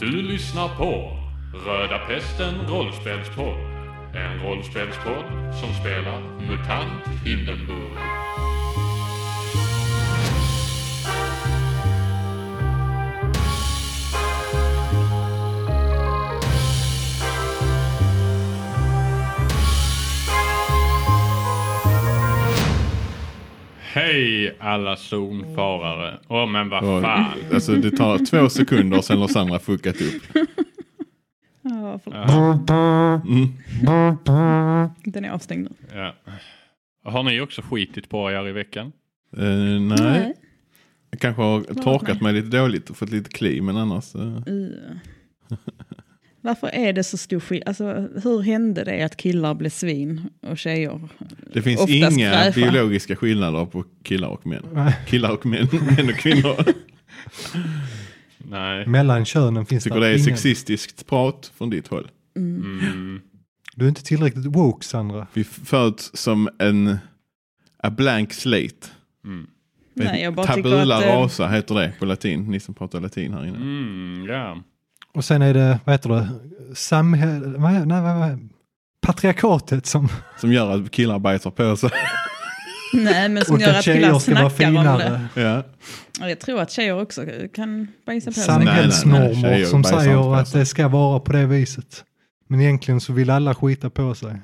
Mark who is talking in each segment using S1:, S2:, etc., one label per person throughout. S1: Du lyssnar på Röda Pesten Rollspelspodd. En rollspelspodd som spelar MUTANT Hindenburg. Hej alla zonfarare. Åh men vad fan.
S2: Alltså det tar två sekunder och sen har Sandra fuckat upp.
S3: Ja, förlåt.
S2: Mm.
S3: Den är avstängd nu.
S1: Ja. Har ni också skitit på er i veckan?
S2: Eh, nej. jag kanske har torkat
S3: nej.
S2: mig lite dåligt och fått lite kli men annars. eh,
S3: Uh. Varför är det så stor skillnad? Alltså, hur hände det att killar blev svin och tjejer?
S2: det finns
S3: Oftast
S2: inga
S3: fräscha.
S2: biologiska skillnader på killar och män. Killar och män, män och kvinnor.
S1: Nej.
S4: Mellan könen finns
S2: Tycker det är
S4: ingen-
S2: sexistiskt prat från ditt håll.
S1: Mm.
S4: Du är inte tillräckligt woke Sandra.
S2: Vi föds som en a blank slate.
S1: Mm.
S2: Vet
S3: Nej,
S2: ni,
S3: jag bara
S2: Tabula
S3: tycker att, eh,
S2: rasa heter det på latin. Ni som pratar latin här inne.
S1: Mm, ja.
S4: Och sen är det, vad heter det, samhälle, nej, nej, vad- vad- patriarkatet som,
S2: Som gör att killar bajsar på sig.
S3: Nej, men som
S4: och
S3: gör
S4: att
S3: att killar
S4: tjejer ska vara
S3: snackar om det.
S4: finare.
S2: ja.
S3: Ja, Jag tror att tjejer också kan bajsa på
S2: Nej, nej,
S3: sig.
S2: nej,
S4: Samhällsnormer
S2: tjejer
S4: som
S2: bajsar inte på
S4: säger att
S1: alltså.
S2: sig.
S4: det ska vara på det viset. Men egentligen så vill alla skita på sig.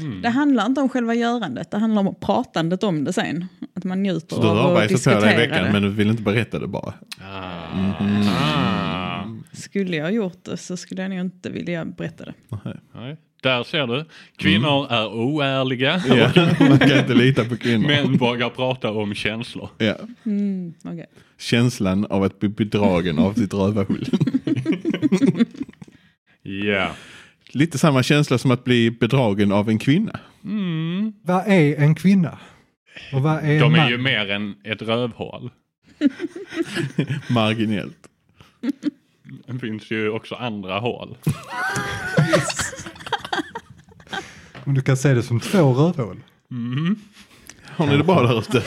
S1: Mm.
S3: Det handlar inte om själva görandet, det handlar om pratandet om det sen. Att man njuter
S2: Så du har
S3: av att
S2: bajsat på
S3: diskutera
S2: dig i
S3: det.
S2: veckan men du vill inte berätta det bara.
S1: Ah.
S2: Mhm.
S1: Ah.
S3: Skulle jag gjort det så skulle jag nog inte vilja berätta det.
S1: Nej. Där ser du. Kvinnor är oärliga.
S2: Ja, man kan inte lita på kvinnor.
S1: Män vågar prata om känslor.
S2: Ja.
S3: Mm, okej.
S2: Känslan av att bli bedragen av sitt rövarhull.
S1: Ja.
S2: Lite samma känsla som att bli bedragen av en kvinna.
S1: Mm.
S4: Vad är en kvinna? Och vad är en
S1: De är
S4: man?
S1: ju mer än ett rövhål.
S2: Marginellt.
S1: Det finns ju också andra hål.
S4: Men du kan se det som två rövhål.
S2: Har ni det bra där ute?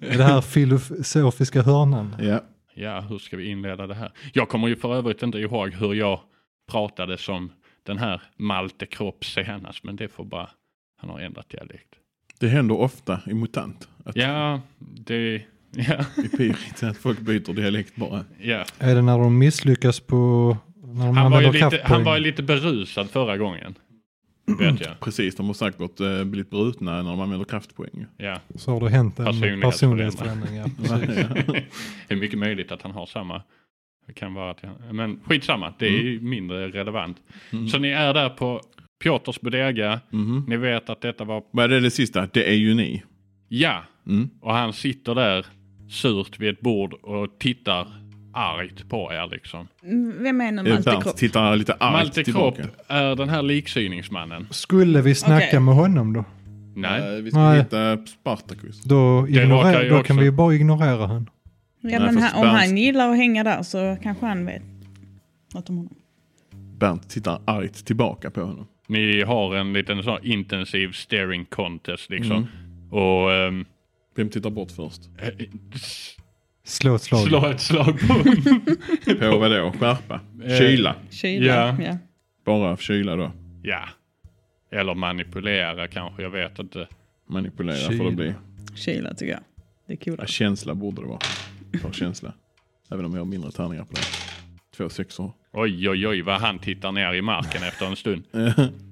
S4: I det här filosofiska hörnan.
S2: Ja.
S1: Ja, hur ska vi inleda det här? Jag kommer ju för övrigt inte ihåg hur jag pratade som den här Malte Kropp senast, men det får bara, han har ändrat dialekt.
S2: Det händer ofta i MUTANT. Att
S1: Ja, det, ja,
S2: I Pirit att folk byter dialekt bara.
S1: ja.
S4: Är det när de misslyckas på... När de
S1: Han var, ju
S4: använder
S1: lite, han
S4: kraftpoäng?
S1: var ju lite berusad förra gången. Vet jag.
S2: Precis, de har säkert eh, blivit brutna när de använder kraftpoäng.
S1: Ja.
S4: Så har det hänt en
S1: Personlighetsförändring.
S4: personlighetsförändring. Ja, precis.
S1: Det är mycket möjligt att han har samma. Det kan vara att jag, men skitsamma, det är ju mindre relevant.
S2: Mm.
S1: Så ni är där på Piotrs Bodega.
S2: Mhm.
S1: Ni vet att detta var,
S2: Vad är det, det sista? Det är ju ni.
S1: ja,
S2: Mm.
S1: och han sitter där surt vid ett bord och tittar argt på er liksom.
S3: Mm, Vem är nu
S2: Eh,
S3: Malte
S2: Bernt
S3: Kropp?
S2: tittar lite argt
S1: Malte Kropp
S2: tillbaka.
S1: är den här liksyningsmannen.
S4: Skulle vi snacka
S3: Okej.
S4: med honom då?
S1: Nej,
S2: Eh, Vi ska
S4: Nej.
S2: hitta Spartacus.
S4: Då,
S1: råkar
S4: ignorer,
S1: jag
S4: då kan
S1: också.
S4: vi ju bara ignorera han.
S3: Ja,
S2: Nej,
S3: men
S2: fast
S3: han, om
S2: Bernt-
S3: han gillar att hänga där så kanske han vet något om honom.
S2: Bernt tittar argt tillbaka på honom.
S1: ni har en liten sån här intensiv staring contest liksom.
S2: Mm.
S1: Och ehm,
S2: Vem tittar bort först?
S4: Slå ett slag.
S1: slå ett slag på honom.
S2: På vadå? Skärpa? Kyla?
S3: Kyla.
S1: Ja.
S3: Ja.
S2: Bara kyla då?
S1: Ja. Eller manipulera kanske, jag vet inte.
S2: Manipulera
S4: Kyla.
S2: får det bli.
S3: Kyla tycker jag. Det är
S2: Ja,
S3: coolare.
S2: känsla borde det vara. För känsla. Även om jag har mindre tärningar på det. Två sexor.
S1: Oj, oj, oj vad han tittar ner i marken efter en stund.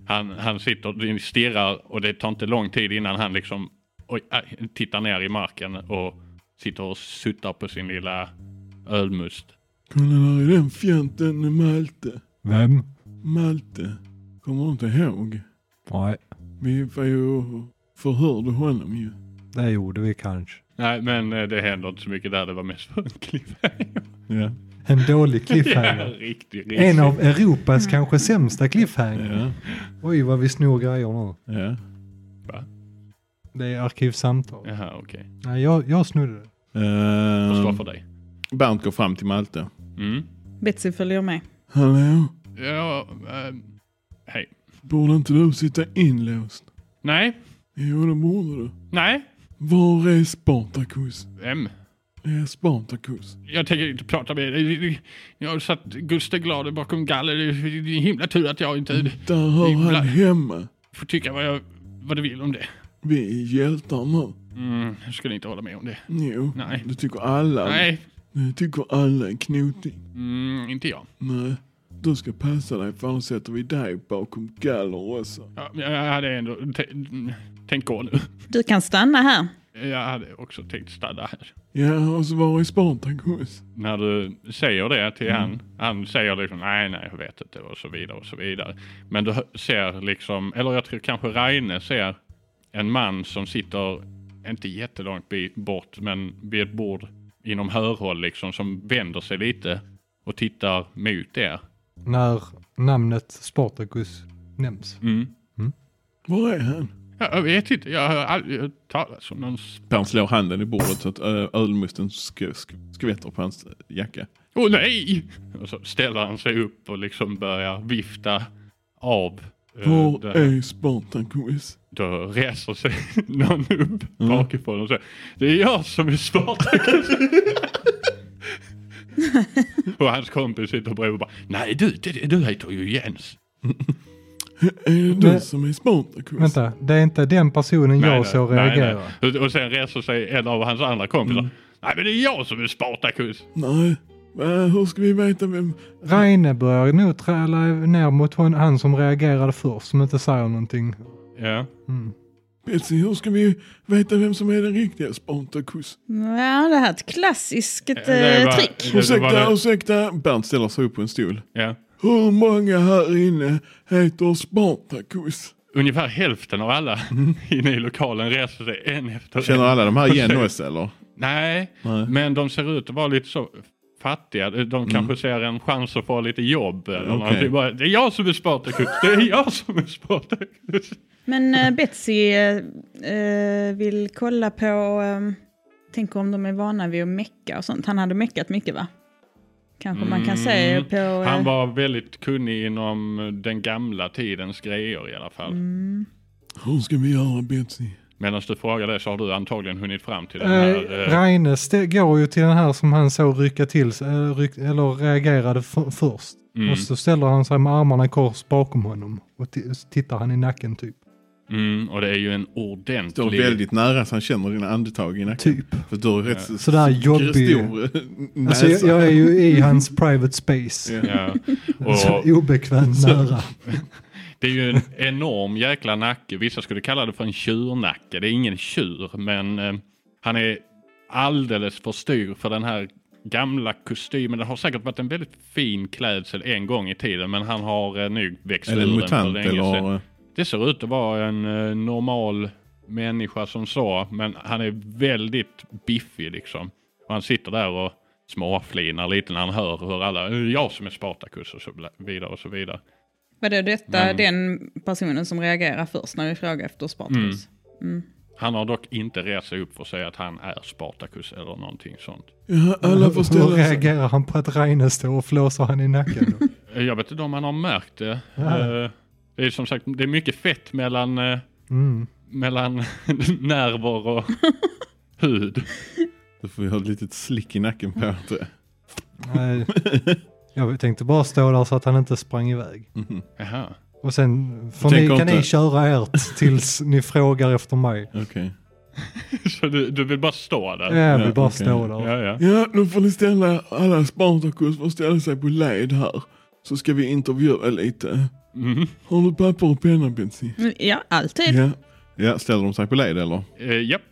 S1: Han, han sitter och stirrar och det tar inte lång tid innan han liksom oj, aj, tittar ner i marken och sitter och suttar på sin lilla ölmust.
S2: Kolla där är den fjanten Malte.
S4: Vem?
S2: Malte. Kommer du inte ihåg?
S4: Nej,
S2: Vi var ju förhörde honom ju.
S4: det gjorde vi kanske.
S1: Nej, men eh, det händer inte så mycket där. Det var mest för en cliffhanger.
S2: Ja.
S4: En dålig
S1: Ja,
S4: cliffhanger.
S1: riktig, riktig.
S4: En av Europas kanske sämsta cliffhanger.
S2: Ja.
S4: Oj, vad vi snor grejer nu.
S2: Ja.
S4: Det är arkivsamtal.
S1: Jaha, okej.
S4: Nej, jag, jag snodde det.
S1: Förstår
S2: Ehm,
S1: för dig.
S2: Bernt går fram till Malte.
S1: Mm.
S3: Betsy följer med.
S2: Hallå?
S1: Ja, ehm, hej.
S2: Borde inte du sitta inlåst?
S1: Nej,
S2: Jo, det borde du.
S1: nej,
S2: Var är Spartacus?
S1: M.
S2: Yes, barn tar kos.
S1: Jag tänker inte prata med dig. Jag satt Gustav Glader bakom galler. Det är en himla tur att jag inte
S2: Där hör
S1: Ibland-
S2: han hemma.
S1: får tycka vad, jag, vad du vill om det.
S2: Vi är hjältar nu.
S1: Mm, jag skulle inte hålla med om det.
S2: Jo,
S1: Nej.
S2: det tycker alla.
S1: Nej,
S2: Det tycker alla är knotig.
S1: mm, inte jag.
S2: Nej, du ska passa dig för annars sätter vi dig bakom galler också.
S1: Ja, men Jag hade ändå t- tänkt gå nu.
S3: Du kan stanna här.
S1: Jag hade också tänkt stanna här.
S2: Ja, och så var är Spartak hos?
S1: När du säger det till han, han säger liksom nej, nej, jag vet inte och så vidare och så vidare. Men du hö- ser liksom, eller jag tror kanske Reine ser en man som sitter, inte jättelångt bi- bort, men vid ett bord inom hörhåll liksom som vänder sig lite och tittar mot er.
S4: När namnet Spartacus nämns.
S1: Mm.
S2: Var är han?
S1: Ja, Jag vet inte, jag har aldrig hört talas om någon... s-
S2: Per slår handen i bordet så att ö, ölmusten sk- sk- skvätter på hans jacka.
S1: Åh nej! Och så ställer han sig upp och liksom börjar vifta av. eh,
S2: Var
S1: det-
S2: är Spartak hos?
S1: Då reser sig någon upp bakifrån och säger Det är jag som är Spartacus. och hans kompis sitter bredvid och bara Nej du, det, det- du heter ju Jens.
S2: Är det du
S4: Men-
S2: som är Spartak hos?
S4: Vänta, det är inte den personen
S1: Nej,
S4: jag
S1: nej,
S4: såg
S1: nej,
S4: reagera.
S1: nej. Och- Och sen reser sig en av hans andra kompisar. Nej men det är jag som är Spartacus.
S2: Nej, Va, hur ska vi veta vem?
S4: Reine börjar nog träla ner mot hon, han som reagerade först, som inte säger någonting.
S1: Ja.
S4: Mm.
S2: Betsy, hur ska vi veta vem som är den riktiga Spartak hos?
S3: Ja, det här är ett klassiskt eh,
S1: det är bara-
S3: trick.
S1: det var
S2: Ursäkta, alltså.
S1: det-
S2: ursäkta. Bernt ställer sig upp på en stol.
S1: Ja.
S2: Hur många här inne heter Spartacus?
S1: Ungefär hälften av alla inne i lokalen reser sig en efter en.
S2: Känner alla de här igen oss eller?
S1: Nej,
S2: Nej. Mm.
S1: men de ser ut att vara lite så fattiga. De kanske ser en chans att få lite jobb. Eller
S2: Okej.
S1: okay. det, är bara, det är jag som är Spartacus, det är jag som är Spartacus.
S3: Men eh, Betsy eh, eh, vill kolla på, eh, tänk om de är vana vid att mecka och sånt. Han hade meckat mycket va? Kanske man kan säga
S1: Mm.
S3: på... eh,
S1: Han var väldigt kunnig inom den gamla tidens grejer i alla fall.
S3: Mm.
S2: Hur ska vi göra Betsy?
S1: Medan du frågar det så har du antagligen hunnit fram till den
S4: Eh,
S1: här. eh,
S4: Reine st- går ju till den här som han såg rycka till sig, eh, ryck, eller reagerade f- först.
S1: Mm.
S4: Och så ställer han sig med armarna i kors bakom honom och t- tittar han i nacken typ.
S1: mm, och det är ju en
S2: Står
S1: ordentlig...
S2: väldigt nära så han känner dina andetag i nacken.
S4: Typ.
S2: För du har rätt så
S4: Sådär jobbig.
S2: stor eh, näsa.
S4: Alltså jag, jag är ju i hans private space.
S2: Ja.
S1: Ja.
S4: Så
S1: eh, Och
S4: obekvämt nära.
S1: det är ju en enorm jäkla nacke. Vissa skulle kalla det för en tjurnacke. Det är ingen tjur, men eh, han är alldeles för styr för den här gamla kostymen. Det har säkert varit en väldigt fin klädsel en gång i tiden, men han har eh, nu växt
S2: Eller en
S1: ur den för
S2: mutant
S1: länge sedan.
S2: eller... eh,
S1: Det ser ut att vara en eh, normal människa som så, men han är väldigt biffig liksom. Och han sitter där och småflinar lite när han hör hur alla, "Det är jag som är Spartacus och så vidare och så vidare.
S3: Var det detta den personen som reagerar först när vi frågar efter
S1: Mm.
S3: Spartacus?
S1: Han har dock inte rest sig upp för att säga att han är Spartacus eller någonting sånt.
S2: Ja, alla alltså. får
S4: Hur
S2: ställa sig.
S4: reagerar han på att Reine står och flåsar han i nacken? Då?
S1: Eh, Jag vet inte om han har märkt det.
S4: Ja.
S1: Eh, Det är som sagt, det är mycket fett mellan, eh,
S4: Mm.
S1: mellan nerver och hud.
S2: Då får vi ha ett litet slick i nacken på det.
S4: Nej. Jag tänkte bara stå där så att han inte sprang iväg.
S2: Mm,
S1: Jaha.
S4: Och sen får
S2: Tänker
S4: ni, kan
S2: inte-
S4: ni köra ert tills ni frågar efter mig.
S2: Okej.
S1: Så du, du vill bara stå där?
S4: Jag vill bara
S2: okej.
S4: stå där.
S1: Ja, ja.
S2: Ja, nu får ni ställa, alla Spartacus får ställa sig på led här. Så ska vi intervjua lite.
S1: Mhm.
S2: Har du papper och penna Betsy?
S3: Mm, Ja, alltid.
S2: Mm. Ja. ja, ställer de sig på led eller?
S1: Eh, japp.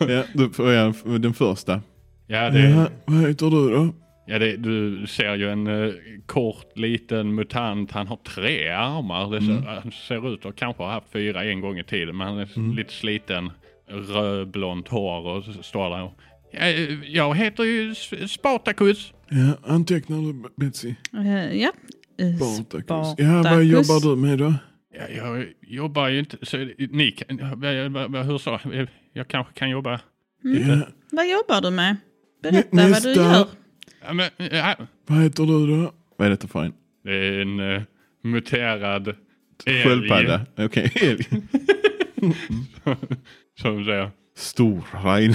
S2: Ja, då får jag den första.
S1: Ja,
S2: Ja,
S1: det,
S2: vad heter du då?
S1: ja det, du ser ju en eh, kort liten mutant. Han har tre armar. Det ser, Han ser ut att kanske ha haft fyra en gång i tiden. Men han är lite sliten. Rödblont hår och så står där. och, "Ja, eh, Jag heter ju S- Spartacus.
S2: Ja, antecknar du Betsy?
S3: Eh, Ja. Eh,
S2: Spartacus.
S3: Spartacus.
S2: Ja, vad jobbar du med då?
S1: Ja, jag jobbar ju inte. Så, ni kan, vad- vad- vad- hur så? Eh, Jag kanske kan jobba.
S2: Ja,
S3: Vad jobbar du med? Berätta
S2: Nä-
S3: vad du
S2: nästa.
S3: gör.
S1: Ja, men, ja.
S2: vad heter du då? Vad är detta för en?
S1: Det är en eh, muterad älg.
S2: Sköldpadda? Okej, älg.
S1: Som säger
S2: Storhain.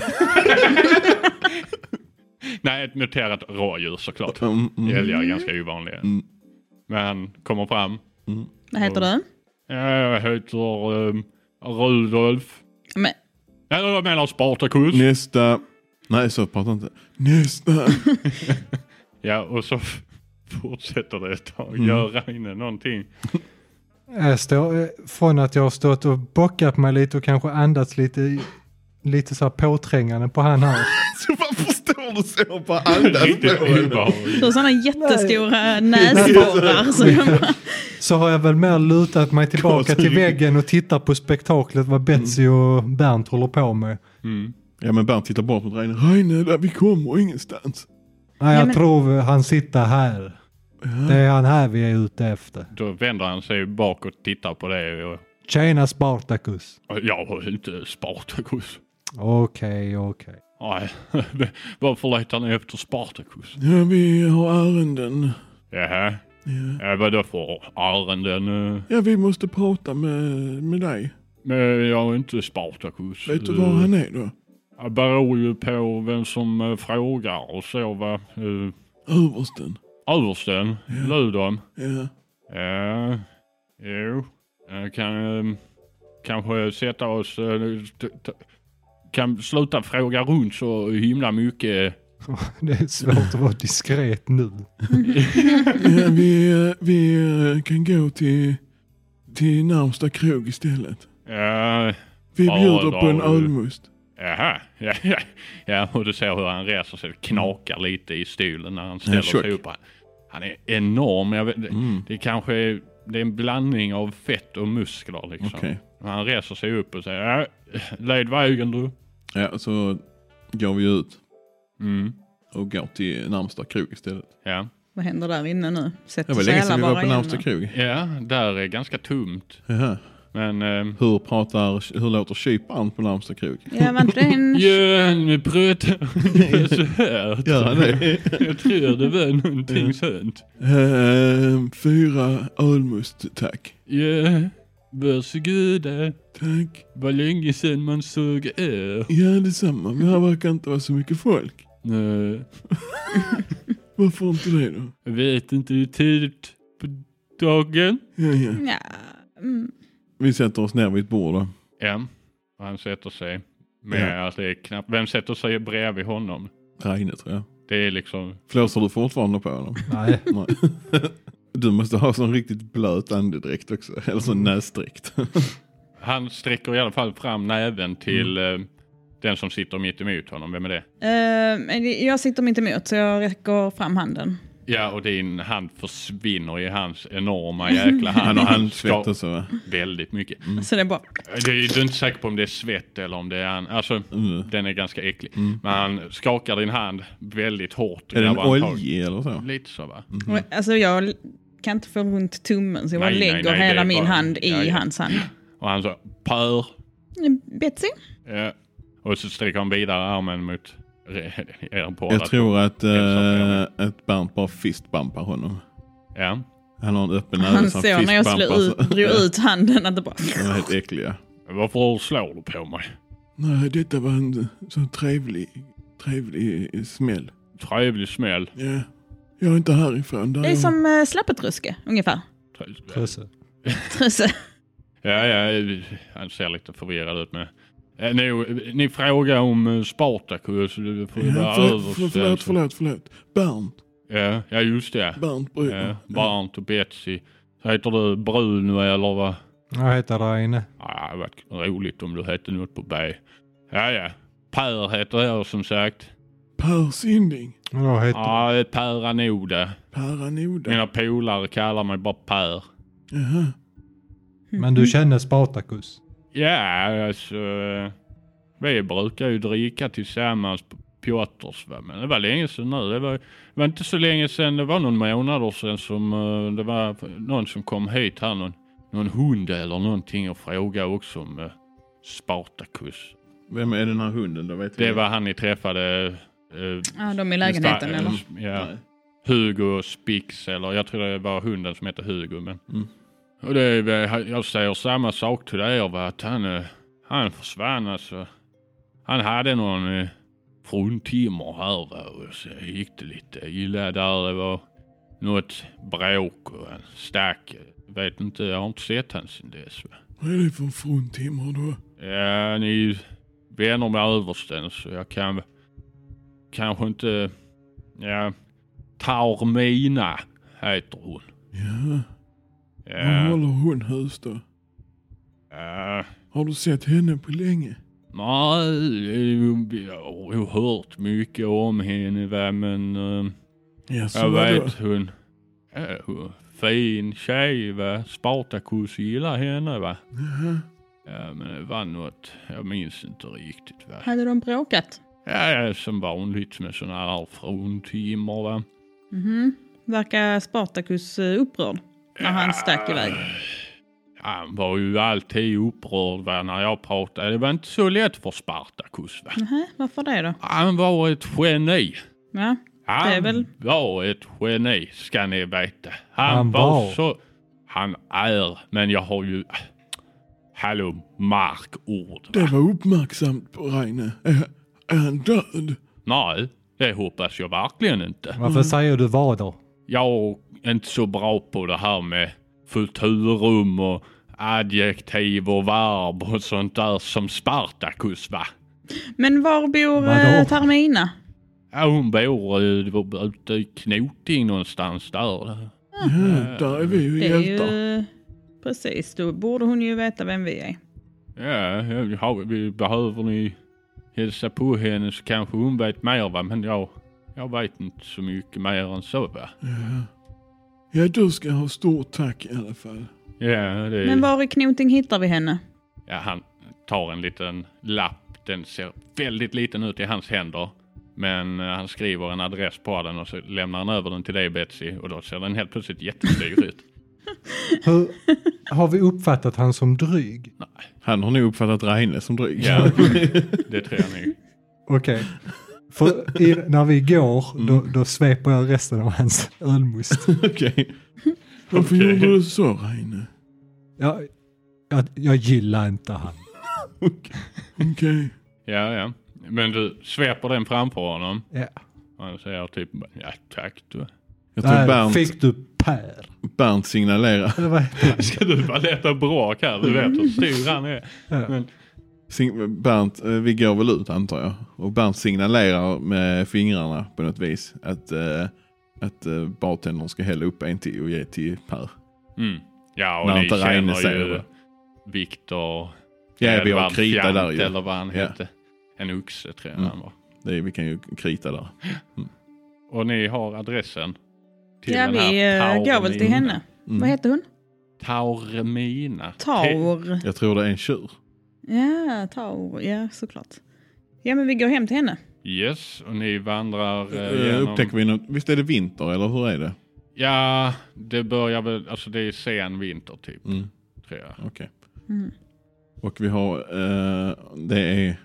S1: Nej, ett muterat rådjur såklart.
S2: Mm, mm.
S1: Älgar är ganska ovanliga.
S2: Mm.
S1: Men han kommer fram.
S3: Vad heter du?
S1: "Ja, Jag heter um, Rudolf.
S3: Men,
S1: Eller jag menar Spartacus.
S2: Mm. Nästa. Nej, så prata inte. Nästa.
S1: Ja, och så f- fortsätter det ett tag.
S2: Mm.
S1: Gör Reine någonting?
S4: Jag står, eh, från att jag har stått och bockat mig lite och kanske andats lite, i- lite så här påträngande på han här.
S2: Så varför står du så och bara andas
S1: Riktigt
S2: på henne?
S1: obehagligt.
S3: du har sådana jättestora näsborrar. Så jag bara,
S4: Så har jag väl mer lutat mig tillbaka till väggen och tittat på spektaklet vad Betsy
S2: Mm.
S4: och Bernt håller på med.
S2: Ja men Bernt tittar bort mot Reine. Reine, där vi kommer ingenstans.
S4: Nej,
S3: Ja,
S4: jag
S3: men-
S4: tror han sitter här. Det är han här vi är ute efter.
S1: Då vänder han sig bak och tittar på det. Och,
S4: Tjena Spartacus.
S1: jag har inte Spartacus.
S4: Okej, okej.
S1: Nej, varför letar ni efter Spartacus?
S2: Ja, vi har ärenden.
S1: Jaha,
S2: Ja,
S1: ja, vadå för ärenden? eh?
S2: ja vi måste prata med, med dig.
S1: Men jag är inte Spartacus.
S2: Vet du var han är då?
S1: Eh, Det beror ju på vem som eh, frågar och så va. Eh,
S2: Översten.
S1: Översten, Ludon.
S2: Ja.
S1: Ja, jo. Jag kan eh, kanske sätta oss... eh, t- t- Kan sluta fråga runt så himla mycket.
S4: Det är svårt att vara diskret nu.
S2: ja vi, eh, vi eh, kan gå till, till närmsta krog istället.
S1: Ja,
S2: Vi
S1: Ja,
S2: bjuder på en
S1: då-
S2: ölmust.
S1: Jaha, ja, ja, ja. Och du ser hur han reser sig, knakar lite i stolen när han ställer
S2: är tjock. Mm.
S1: sig upp. Han- Han är enorm. Jag vet, det, det kanske är, det är en blandning av fett och muskler liksom.
S2: Okej.
S1: Och Han reser sig upp och säger, ja, led vägen du.
S2: Ja, så går vi ut
S1: Mm,
S2: och går till närmsta krog istället.
S1: ja.
S3: vad händer där inne nu?
S2: Det
S3: Sätter
S2: var
S3: sig
S2: länge sedan
S3: alla
S2: vi var
S3: bara
S2: på
S3: igen.
S2: närmsta krog.
S1: ja, där är ganska tomt.
S2: Jaha.
S1: Men... ehm,
S2: Hur pratar, hur låter kyparen på närmsta krog?
S3: Ja, var inte det en...
S1: Ja, nu pratar jag så här.
S2: Gör han det?
S1: Jag tror det var någonting sånt.
S2: Ehm, fyra ölmust tack.
S1: Ja, varsågoda.
S2: Tack.
S1: Var länge sedan man såg er.
S2: Ja detsamma, men här verkar inte vara så mycket folk.
S1: Nej,
S2: Varför inte det då?
S1: jag vet inte hur tidigt på dagen.
S2: Ja, ja.
S3: Ja. Mm.
S2: Vi sätter oss ner vid ett bord då.
S1: Ja, och han sätter sig. Med att det är knappt, vem sätter sig bredvid honom?
S2: Reine tror jag.
S1: Det är liksom,
S2: Flåsar du fortfarande på honom?
S4: Nej,
S2: Nej. Du måste ha sån riktigt blöt andedräkt också. Eller sån näsdräkt.
S1: han sträcker i alla fall fram näven till
S2: Mm.
S1: eh, den som sitter mitt emot honom. Vem är det?
S3: Eh, men jag sitter mitt emot så jag räcker fram handen.
S1: Ja, och din hand försvinner i hans enorma jäkla hand.
S2: Han har
S1: Och
S2: handsvett
S1: skakar
S2: och så va?
S1: Väldigt mycket.
S2: Mm.
S3: Så det är bara...
S1: Du, du är inte säker på om det är svett eller om det är han. Alltså,
S2: Mm.
S1: den är ganska äcklig. Men han skakar din hand väldigt hårt.
S2: Är det en Mm.
S1: grabbar en tag.
S2: oljig eller så?
S1: Lite så va?
S3: Alltså jag kan inte få runt tummen så jag bara
S1: Nej, nej,
S3: lägger
S1: nej, det
S3: hela
S1: är
S3: min
S1: bara-
S3: hand i
S1: Ja, ja.
S3: hans hand.
S1: Och han så, pör.
S3: Betsy?
S1: Ja. Och så sträcker han vidare armen mot re- er båda.
S2: Jag tror att, eh,
S1: Hälsa
S2: att Bernt bara fistbumpar honom.
S1: Ja.
S2: Han har en öppen
S3: Han
S2: näve så
S3: såg när jag slog
S2: fistbumpar.
S3: ut, drog ut handen att det bara...
S2: De är helt äckliga.
S1: Varför slår du på mig?
S2: Nej, detta var en sån trevlig, trevlig smäll.
S1: Trevlig smäll.
S2: Ja. Jag är inte härifrån. Där
S3: Det är som eh, släppetruske ungefär.
S1: Tre-
S4: Trusse.
S3: Trusse.
S1: Ja, ja, han ser lite förvirrad ut med. Eh, Ni, ni frågar om eh, Spartacus, det får ju vara
S2: Ja, för, för,
S1: överställt.
S2: förlåt, förlåt, förlåt. Bernt.
S1: Ja, ja just det.
S2: Bernt Brunner.
S1: Ja, Barnt och Betsy. Så heter du Bruno eller vad?
S4: Jag heter Reine.
S1: Ja, det varit roligt om du hette något på B. Ja, ja. Per heter jag som sagt.
S2: Per Sinding.
S4: Och Jag heter...
S1: Ja, Per Anoda.
S2: Per Anoda.
S1: Mina polare kallar mig bara Per.
S2: Jaha.
S4: Men du känner Spartacus?
S1: Ja, alltså. eh, Vi brukar ju dricka tillsammans på Piotrs va. Men det var länge sedan nu. Det var, det var inte så länge sedan. Det var någon månader sedan som eh, det var någon som kom hit här. Någon, någon hund eller någonting och frågade också om eh, Spartacus.
S2: Vem är den här hunden då? Vet
S1: Det
S2: jag.
S1: var han ni träffade. eh,
S3: Mm. Ja, de i lägenheten
S1: sta- eh,
S3: eller?
S1: Ja,
S2: Nej.
S1: Hugo Spix eller jag tror det var hunden som hette Hugo. Men...
S2: Mm.
S1: Och det, är väl- jag säger samma sak till er va, att han, eh, han försvann alltså. Han hade någon eh, fruntimmer här va, och så gick det lite illa där. Det var något bråk och han stack. Vet inte, jag har inte sett han sen dess. Va?
S2: Vad är det för fruntimmer då?
S1: Ja, ni är ju vänner med översten så jag kan kanske inte... Ja, Taormina heter hon.
S2: Ja, var
S1: Ja,
S2: håller hon hus då?
S1: ja.
S2: Har du sett henne på länge?
S1: Nej, jag har ju hört mycket om henne va, men eh,
S2: Ja, så
S1: jag
S2: vadå?
S1: vet hon... Ja, hon- fin tjej va. Spartacus gillar henne va.
S2: Jaha.
S1: Ja, men det var något, jag minns inte riktigt va.
S3: Hade de bråkat?
S1: Ja, ja, som vanligt med sådana här fruntimmer va.
S3: Mhm. Verkar Spartacus eh, upprörd när han stack iväg?
S1: Han var ju alltid upprörd va, när jag pratade. Det var inte så lätt för Spartacus. Va?
S3: Nähä, varför det då?
S1: Han var ett geni.
S3: Ja,
S1: Han
S3: Det är väl-
S1: var ett geni, ska ni veta. Han,
S4: Han
S1: var,
S4: var.
S1: så... Han är, men jag har ju... Hallå, markord.
S2: Det var uppmärksamt på Reine. Är, är han död?
S1: Nej, det hoppas jag verkligen inte.
S4: Varför säger du vad då?
S1: jag är inte så bra på det här med futurum och adjektiv och verb och sånt där som Spartacus va.
S3: Men var bor
S4: Vadå?
S3: eh, Tarmina?
S1: Ja, hon bor eh, ute i Knoting någonstans där.
S2: Ja, där är vi ju
S3: Mm. Det är
S2: hjältar.
S3: ju... Precis, då borde hon ju veta vem vi är.
S1: Ja, jag har- vi- behöver ni hälsa på henne så kanske hon vet mer va. Men jag, jag vet inte så mycket mer än så va.
S2: Ja, du ska ha stort tack i alla fall.
S1: Ja, det
S3: Men var i Knoting hittar vi henne?
S1: Ja, han tar en liten lapp. Den ser väldigt liten ut i hans händer. Men eh, han skriver en adress på den och så lämnar han över den till dig Betsy och då ser den helt plötsligt jättedyr ut.
S4: Hur har vi uppfattat han som dryg?
S2: Han har nog uppfattat Reine som dryg.
S1: Ja, det tror jag nog.
S4: Okej. För i, när vi går,
S2: Mm.
S4: då, då sveper jag resten av hans ölmust.
S2: Okej. Varför
S1: Okej.
S2: gjorde du så Reine?
S4: Jag, jag, jag gillar inte han.
S2: Okej.
S1: Ja, ja. Men du sveper den framför honom.
S4: Ja.
S1: Han säger typ ja tack du.
S2: Jag tror
S4: Där
S2: Bernt,
S4: fick du Per.
S2: Bernt signalerar.
S4: Eller vad heter det?
S1: Ska du bara leta bråk här? Du vet hur stor han är.
S2: Mm.
S1: Men,
S2: Sing- Bernt, eh, vi går väl ut antar jag. Och Bernt signalerar med fingrarna på något vis att, eh, att eh, bartendern ska hälla upp en till och ge till Per.
S1: mm. Ja, och
S2: När
S1: ni
S2: inte Reine
S1: känner
S2: säger
S1: ju
S2: det.
S1: Viktor...
S2: Ja, vi har
S1: Edvard
S2: krita
S1: Fjant,
S2: där ju.
S1: Eller vad han
S2: Ja.
S1: hette. En oxe tror jag
S2: Mm.
S1: han var.
S2: Det är, vi kan ju krita där.
S1: Och ni har adressen? Till
S3: ja,
S1: den
S3: vi
S1: här
S3: eh, går väl till
S1: Taormina.
S3: henne.
S2: Mm.
S3: Vad heter hon?
S1: Taormina. Te-
S3: Taur.
S2: Jag tror det är en tjur.
S3: Ja, Taur. Ja, såklart. Ja, men vi går hem till henne.
S1: Yes, och ni vandrar eh,
S2: Eh,
S1: genom...
S2: Upptäcker vi något? Visst är det vinter eller hur är det?
S1: Ja, det börjar väl, alltså det är sen vinter typ,
S2: Mm.
S1: tror jag.
S2: Okej.
S3: Mm.
S2: Och vi har, eh, det är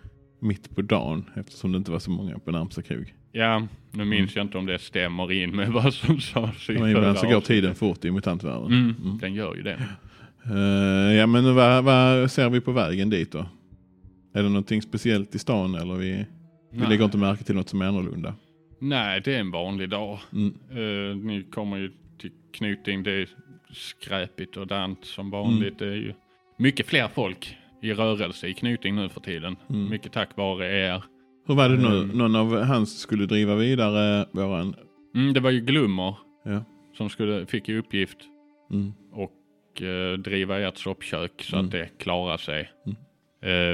S2: mitt på dagen eftersom det inte var så många på närmsta krog.
S1: Ja, nu minns jag inte om det stämmer in med vad som sades i
S2: Mm. Men ibland så går
S1: avsnittet.
S2: tiden fort i mutantvärlden.
S1: Mm, den gör ju det.
S2: Eh, ja men vad, vad ser vi på vägen dit då? Är det någonting speciellt i stan eller vi, vi
S1: Nej.
S2: lägger inte märke till något som är annorlunda?
S1: Nej, det är en vanlig dag.
S2: Mm.
S1: Eh, ni kommer ju till Knuting, det är skräpigt och dant
S2: Mm.
S1: som vanligt. Det är ju mycket fler folk i rörelse i Knuting nu för tiden.
S2: Mm.
S1: Mycket tack vare er.
S2: Hur var det nu?
S1: Mm.
S2: Någon av hans skulle driva vidare våran...
S1: Mm, det var ju Glummer
S2: Ja.
S1: som skulle, fick i uppgift
S2: Mm.
S1: och eh, driva ert soppkök så
S2: Mm.
S1: att det klarar sig.
S2: Mm.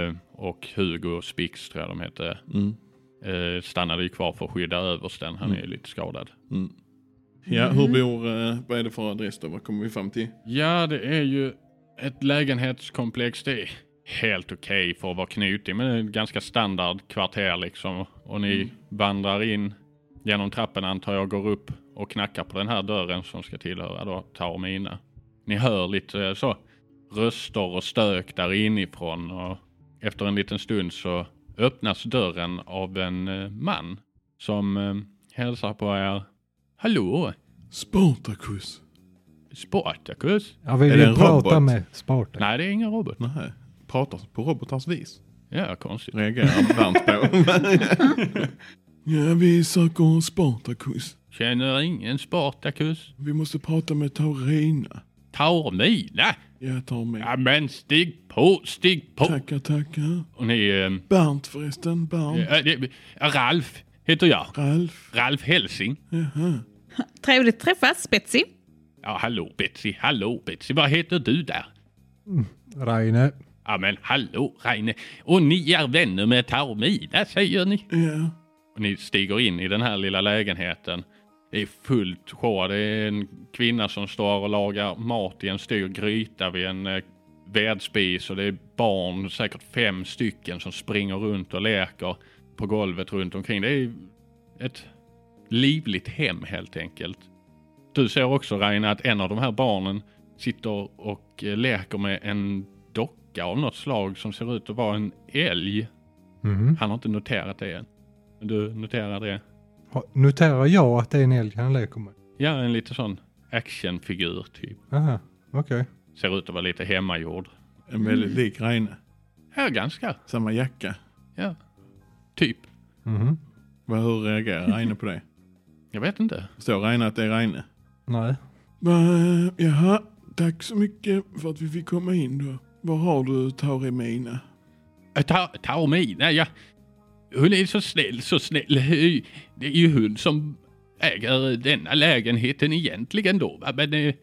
S1: Eh, och Hugo och Spix tror jag de hette,
S2: Mm.
S1: eh, stannade ju kvar för att skydda översten. Han
S2: Mm.
S1: är ju lite skadad.
S2: Mm. Ja, hur bor, eh, vad är det för adress då? Vad kommer vi fram till?
S1: Ja, det är ju ett lägenhetskomplex. Det är helt okej för att vara knutig, men det är ett ganska standard kvarter liksom. Och ni vandrar in genom trappen antar jag, går upp och knackar på den här dörren som ska tillhöra då Taormina. Ni hör lite eh, så röster och stök där inifrån och efter en liten stund så öppnas dörren av en eh, man som eh, hälsar på er. Hallå,
S2: Spartacus.
S1: Spartacus?
S4: Jag vill
S2: Är det
S4: ju
S2: en
S4: prata
S2: robot?
S4: med Spartan.
S1: Nej, det är ingen robot.
S2: Nej, pratar på robotars vis.
S1: Ja, konstigt.
S2: Reagerar Bernt på. ja, vi söker Spartacus.
S1: Känner ingen Spartacus.
S2: Vi måste prata med Taurina.
S1: Taormina.
S2: Jag tar mig.
S1: Ja men stig på, stig på.
S2: Tackar, tackar.
S1: Och ni... Eh,
S2: Bernt förresten, Bernt.
S1: eh, det- Ralf heter jag.
S2: Ralf.
S1: Ralf Helsing.
S2: Jaha.
S3: Trevligt träffas, Betsy.
S1: Ja, hallå Betsy, hallå Betsy. Vad heter du där?
S4: Reine.
S1: Ja men hallå Reine. Och ni är vänner med Taormina säger ni.
S2: Ja.
S1: Och ni stiger in i den här lilla lägenheten. Det är fullt sjå. Det är en kvinna som står och lagar mat i en stor gryta vid en eh, vedspis och det är barn, säkert fem stycken, som springer runt och leker på golvet runt omkring. Det är ett livligt hem helt enkelt. Du ser också Reine att en av de här barnen sitter och eh, leker med en docka av något slag som ser ut att vara en älg.
S4: Mhm.
S1: Han har inte noterat det än. Men Du noterar det?
S4: Ha- Noterar jag att det är en älg han leker med?
S1: Ja, en lite sån actionfigur typ.
S4: Aha, okej.
S1: Ser ut att vara lite hemmagjord.
S2: En väldigt lik Reine.
S1: Ja, ganska.
S2: Samma jacka.
S1: Ja. Typ.
S4: Mhm.
S2: Vad- Hur reagerar Reine på det?
S1: Jag vet inte.
S2: Förstår Reine att det är Reine?
S4: Nej.
S2: Va, jaha, tack så mycket för att vi fick komma in då. Var har du Tauremina?
S1: Äh, Ta, Taormina, ja. Hon är så snäll, så snäll. Det är ju hon som äger denna lägenheten egentligen då. va? Men eh,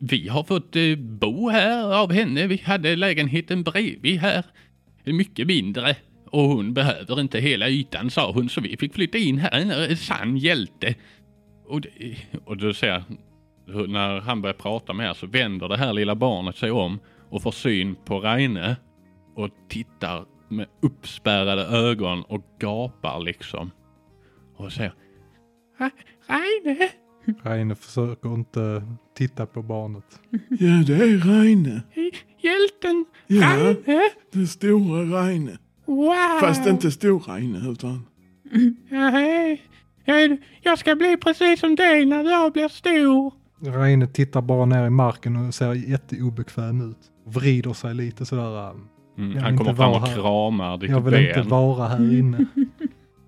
S1: vi har fått eh, bo här av henne. Vi hade lägenheten bredvid här. Mycket mindre. Och hon behöver inte hela ytan, sa hon, så vi fick flytta in här. En eh, sann hjälte. Och, det, och du ser, hur- när han börjar prata med er så vänder det här lilla barnet sig om och får syn på Reine och tittar med uppspärrade ögon och gapar liksom. Och säger "Re- Reine,
S4: Reine försöker inte titta på barnet.
S2: Ja, det är Reine.
S1: hjälten
S2: Ja.
S1: Reine.
S2: Den stora Reine.
S1: Wow.
S2: Fast inte stor Reine, utan...
S1: Nej. Jag- Jag ska bli precis som dig när jag blir stor.
S4: Reine tittar bara ner i marken och ser jätteobekväm ut. Vrider sig lite sådär. ähm, Jag
S1: Mm, han
S4: vill
S1: kommer
S4: inte
S1: fram
S4: vara
S1: och
S4: här.
S1: kramar ditt
S4: Jag vill inte
S1: ben.
S4: vara här
S2: Mm.
S4: inne.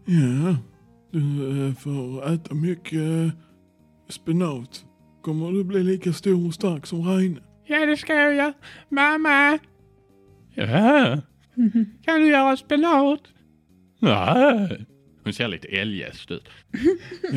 S2: Ja, du eh, får äta mycket eh, spenat. Kommer du bli lika stor och stark som Reine?
S1: Ja, det ska jag göra. Mamma! Ja? Kan du göra spenat? Nej. Hon ser lite eljest ut. Mm.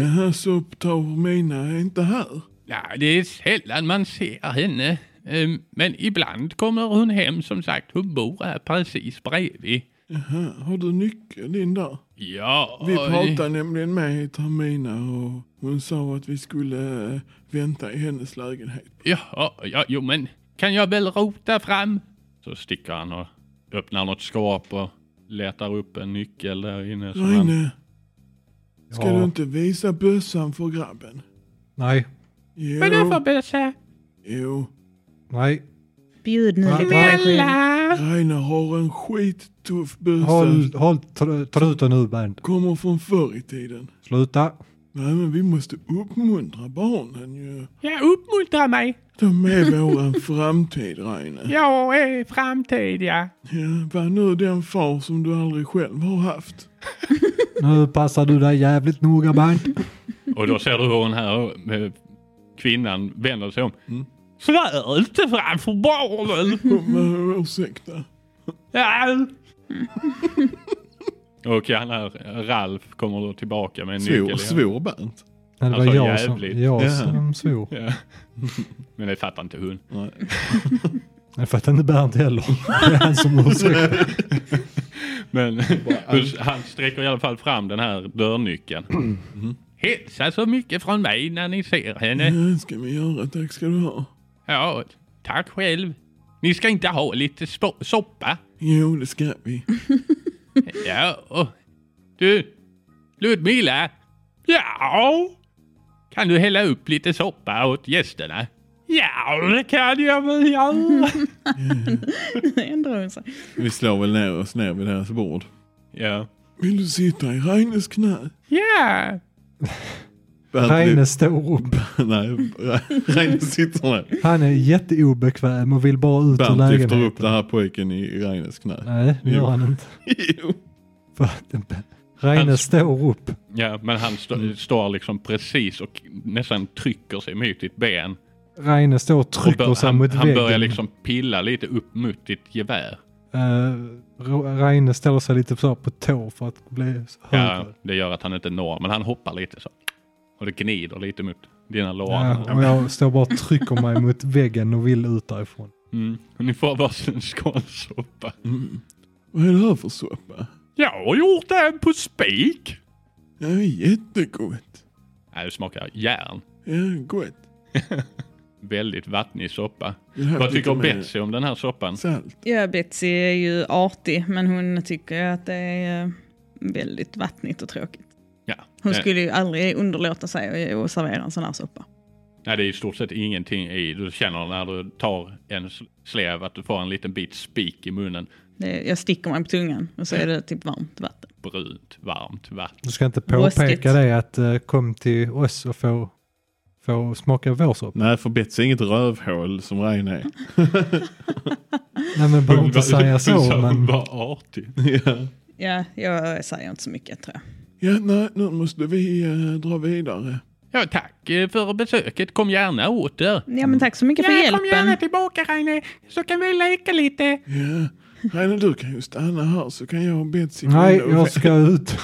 S2: Jaha, så Tauremina är inte här?
S1: Ja, det är sällan man ser henne. Ehm, Men ibland kommer hon hem som sagt. Hon bor här precis bredvid.
S2: Jaha, har du nyckeln in där?
S1: Ja.
S2: Vi pratade nämligen med Tamina och hon sa att vi skulle eh, vänta i hennes lägenhet.
S1: Ja, ja, jo men kan jag väl rota fram? Så sticker han och öppnar något skåp och letar upp en nyckel där inne. Som han...
S2: Reine, ska
S4: Ja.
S2: du inte visa bössan för grabben?
S4: Nej,
S2: Jo,
S1: Vadå för bössa?
S2: jo.
S4: nej.
S3: Bjud nu
S4: Ja,
S3: lite
S4: tack.
S3: energi.
S1: Snälla!
S2: Reine har en skittuff bössa.
S4: Håll, håll, ta, ta ut den nu band.
S2: Kommer från förr i tiden.
S4: Sluta.
S2: Nej men vi måste uppmuntra barnen ju.
S1: Ja, uppmuntra mig!
S2: De är våran framtid Reine.
S1: Jag är framtid, ja.
S2: Ja, var nu den far som du aldrig själv har haft.
S4: Nu passar du dig jävligt noga band.
S1: Och då ser du hur den här eh, kvinnan vänder sig om. Svär inte framför barnen!
S2: Kom, eh, Ursäkta.
S1: Ja. Och han här, Ralf, kommer då tillbaka med en nyckel. i hand.
S2: Bernt?
S4: Nej, det var
S1: Alltså,
S4: jag som,
S1: jävligt.
S4: jag
S2: Ja.
S4: som svor.
S1: Ja. Men det fattar inte hon.
S4: Jag fattar inte Bernt heller. Det är han som ursäktar.
S1: Men han sträcker i alla fall fram den här dörrnyckeln. Hälsa så mycket från mig när ni ser henne.
S2: Ja, ska vi göra. Tack ska du ha.
S1: Ja, tack själv. Ni ska inte ha lite spo- soppa.
S2: Jo, det ska vi.
S1: Ja. och- Du, Ludmilla. Ja? Kan du hälla upp lite soppa åt gästerna? Ja, det kan jag väl göra.
S3: Ändrar hon sig.
S2: Vi slår väl ner oss ner vid deras bord.
S1: Ja.
S2: Vill du sitta i Reines knä?
S1: Ja.
S2: Bernt
S4: Reine står upp.
S2: lyfter- Nej, Re- Reine sitter där.
S4: Han är jätteobekväm och vill bara ut ur
S2: Bernt lyfter upp
S4: lägenheten.
S2: den här pojken i Reines knä.
S4: Nej, det
S2: Jo.
S4: gör han inte.
S2: Jo.
S4: För att Reine
S1: Han-
S4: står upp.
S1: Ja, men han stå,
S4: Mm.
S1: står liksom precis och nästan trycker sig mot ditt ben.
S4: Reine står och
S1: Och
S4: trycker
S1: bör,
S4: sig
S1: han,
S4: mot
S1: han börjar
S4: väggen.
S1: liksom pilla lite upp mot ditt gevär.
S4: Eh, Ro- Reine ställer sig lite så här på tå för att bli
S1: Ja,
S4: högre.
S1: det gör att han inte når, men han hoppar lite så. Och det gnider lite mot dina lår.
S4: Ja, och jag står bara och trycker mig mot väggen och vill ut därifrån.
S1: Mm. Och Ni får varsin skålsoppa.
S2: Mm. Vad är det här för soppa?
S1: Jag har gjort det här på spik!
S2: Ja, det är jättegott.
S1: Nej, det smakar järn.
S2: Ja, gott.
S1: Väldigt vattnig soppa.
S2: Vill ha
S1: Vad
S2: lite
S1: tycker
S2: mer
S1: Betsy om den här soppan?
S2: Salt.
S3: Ja, Betsy är ju artig, men hon tycker att det är eh, väldigt vattnigt och tråkigt.
S1: Ja.
S3: Hon
S1: eh,
S3: skulle ju aldrig underlåta sig att servera en sån här soppa.
S1: Nej, det är i stort sett ingenting i. Du känner när du tar en sl- slev att du får en liten bit spik i munnen.
S3: Det, jag sticker mig på tungan och så är det typ varmt vatten.
S1: Brunt, varmt vatten.
S4: Du ska inte
S3: Ruskigt.
S4: påpeka det att eh, kom till oss och få, få smaka vår soppa.
S2: Nej, för Betsy är inget rövhål som Reine är.
S4: Nej men behöver inte
S1: Hon var-
S4: säga
S1: hon
S4: så
S1: sa Hon
S4: men
S1: var artig.
S2: ja.
S3: Ja, jag säger inte så mycket tror jag.
S2: ja, nej, nu måste vi eh, dra vidare.
S1: Ja, tack eh, för besöket. Kom gärna åter.
S3: Ja, men tack så mycket för hjälpen.
S1: tillbaka Reine, så kan vi leka lite.
S2: Ja, Reine du kan ju stanna här så kan jag och Betsy gå
S4: nej
S2: in och-
S4: jag ska ut.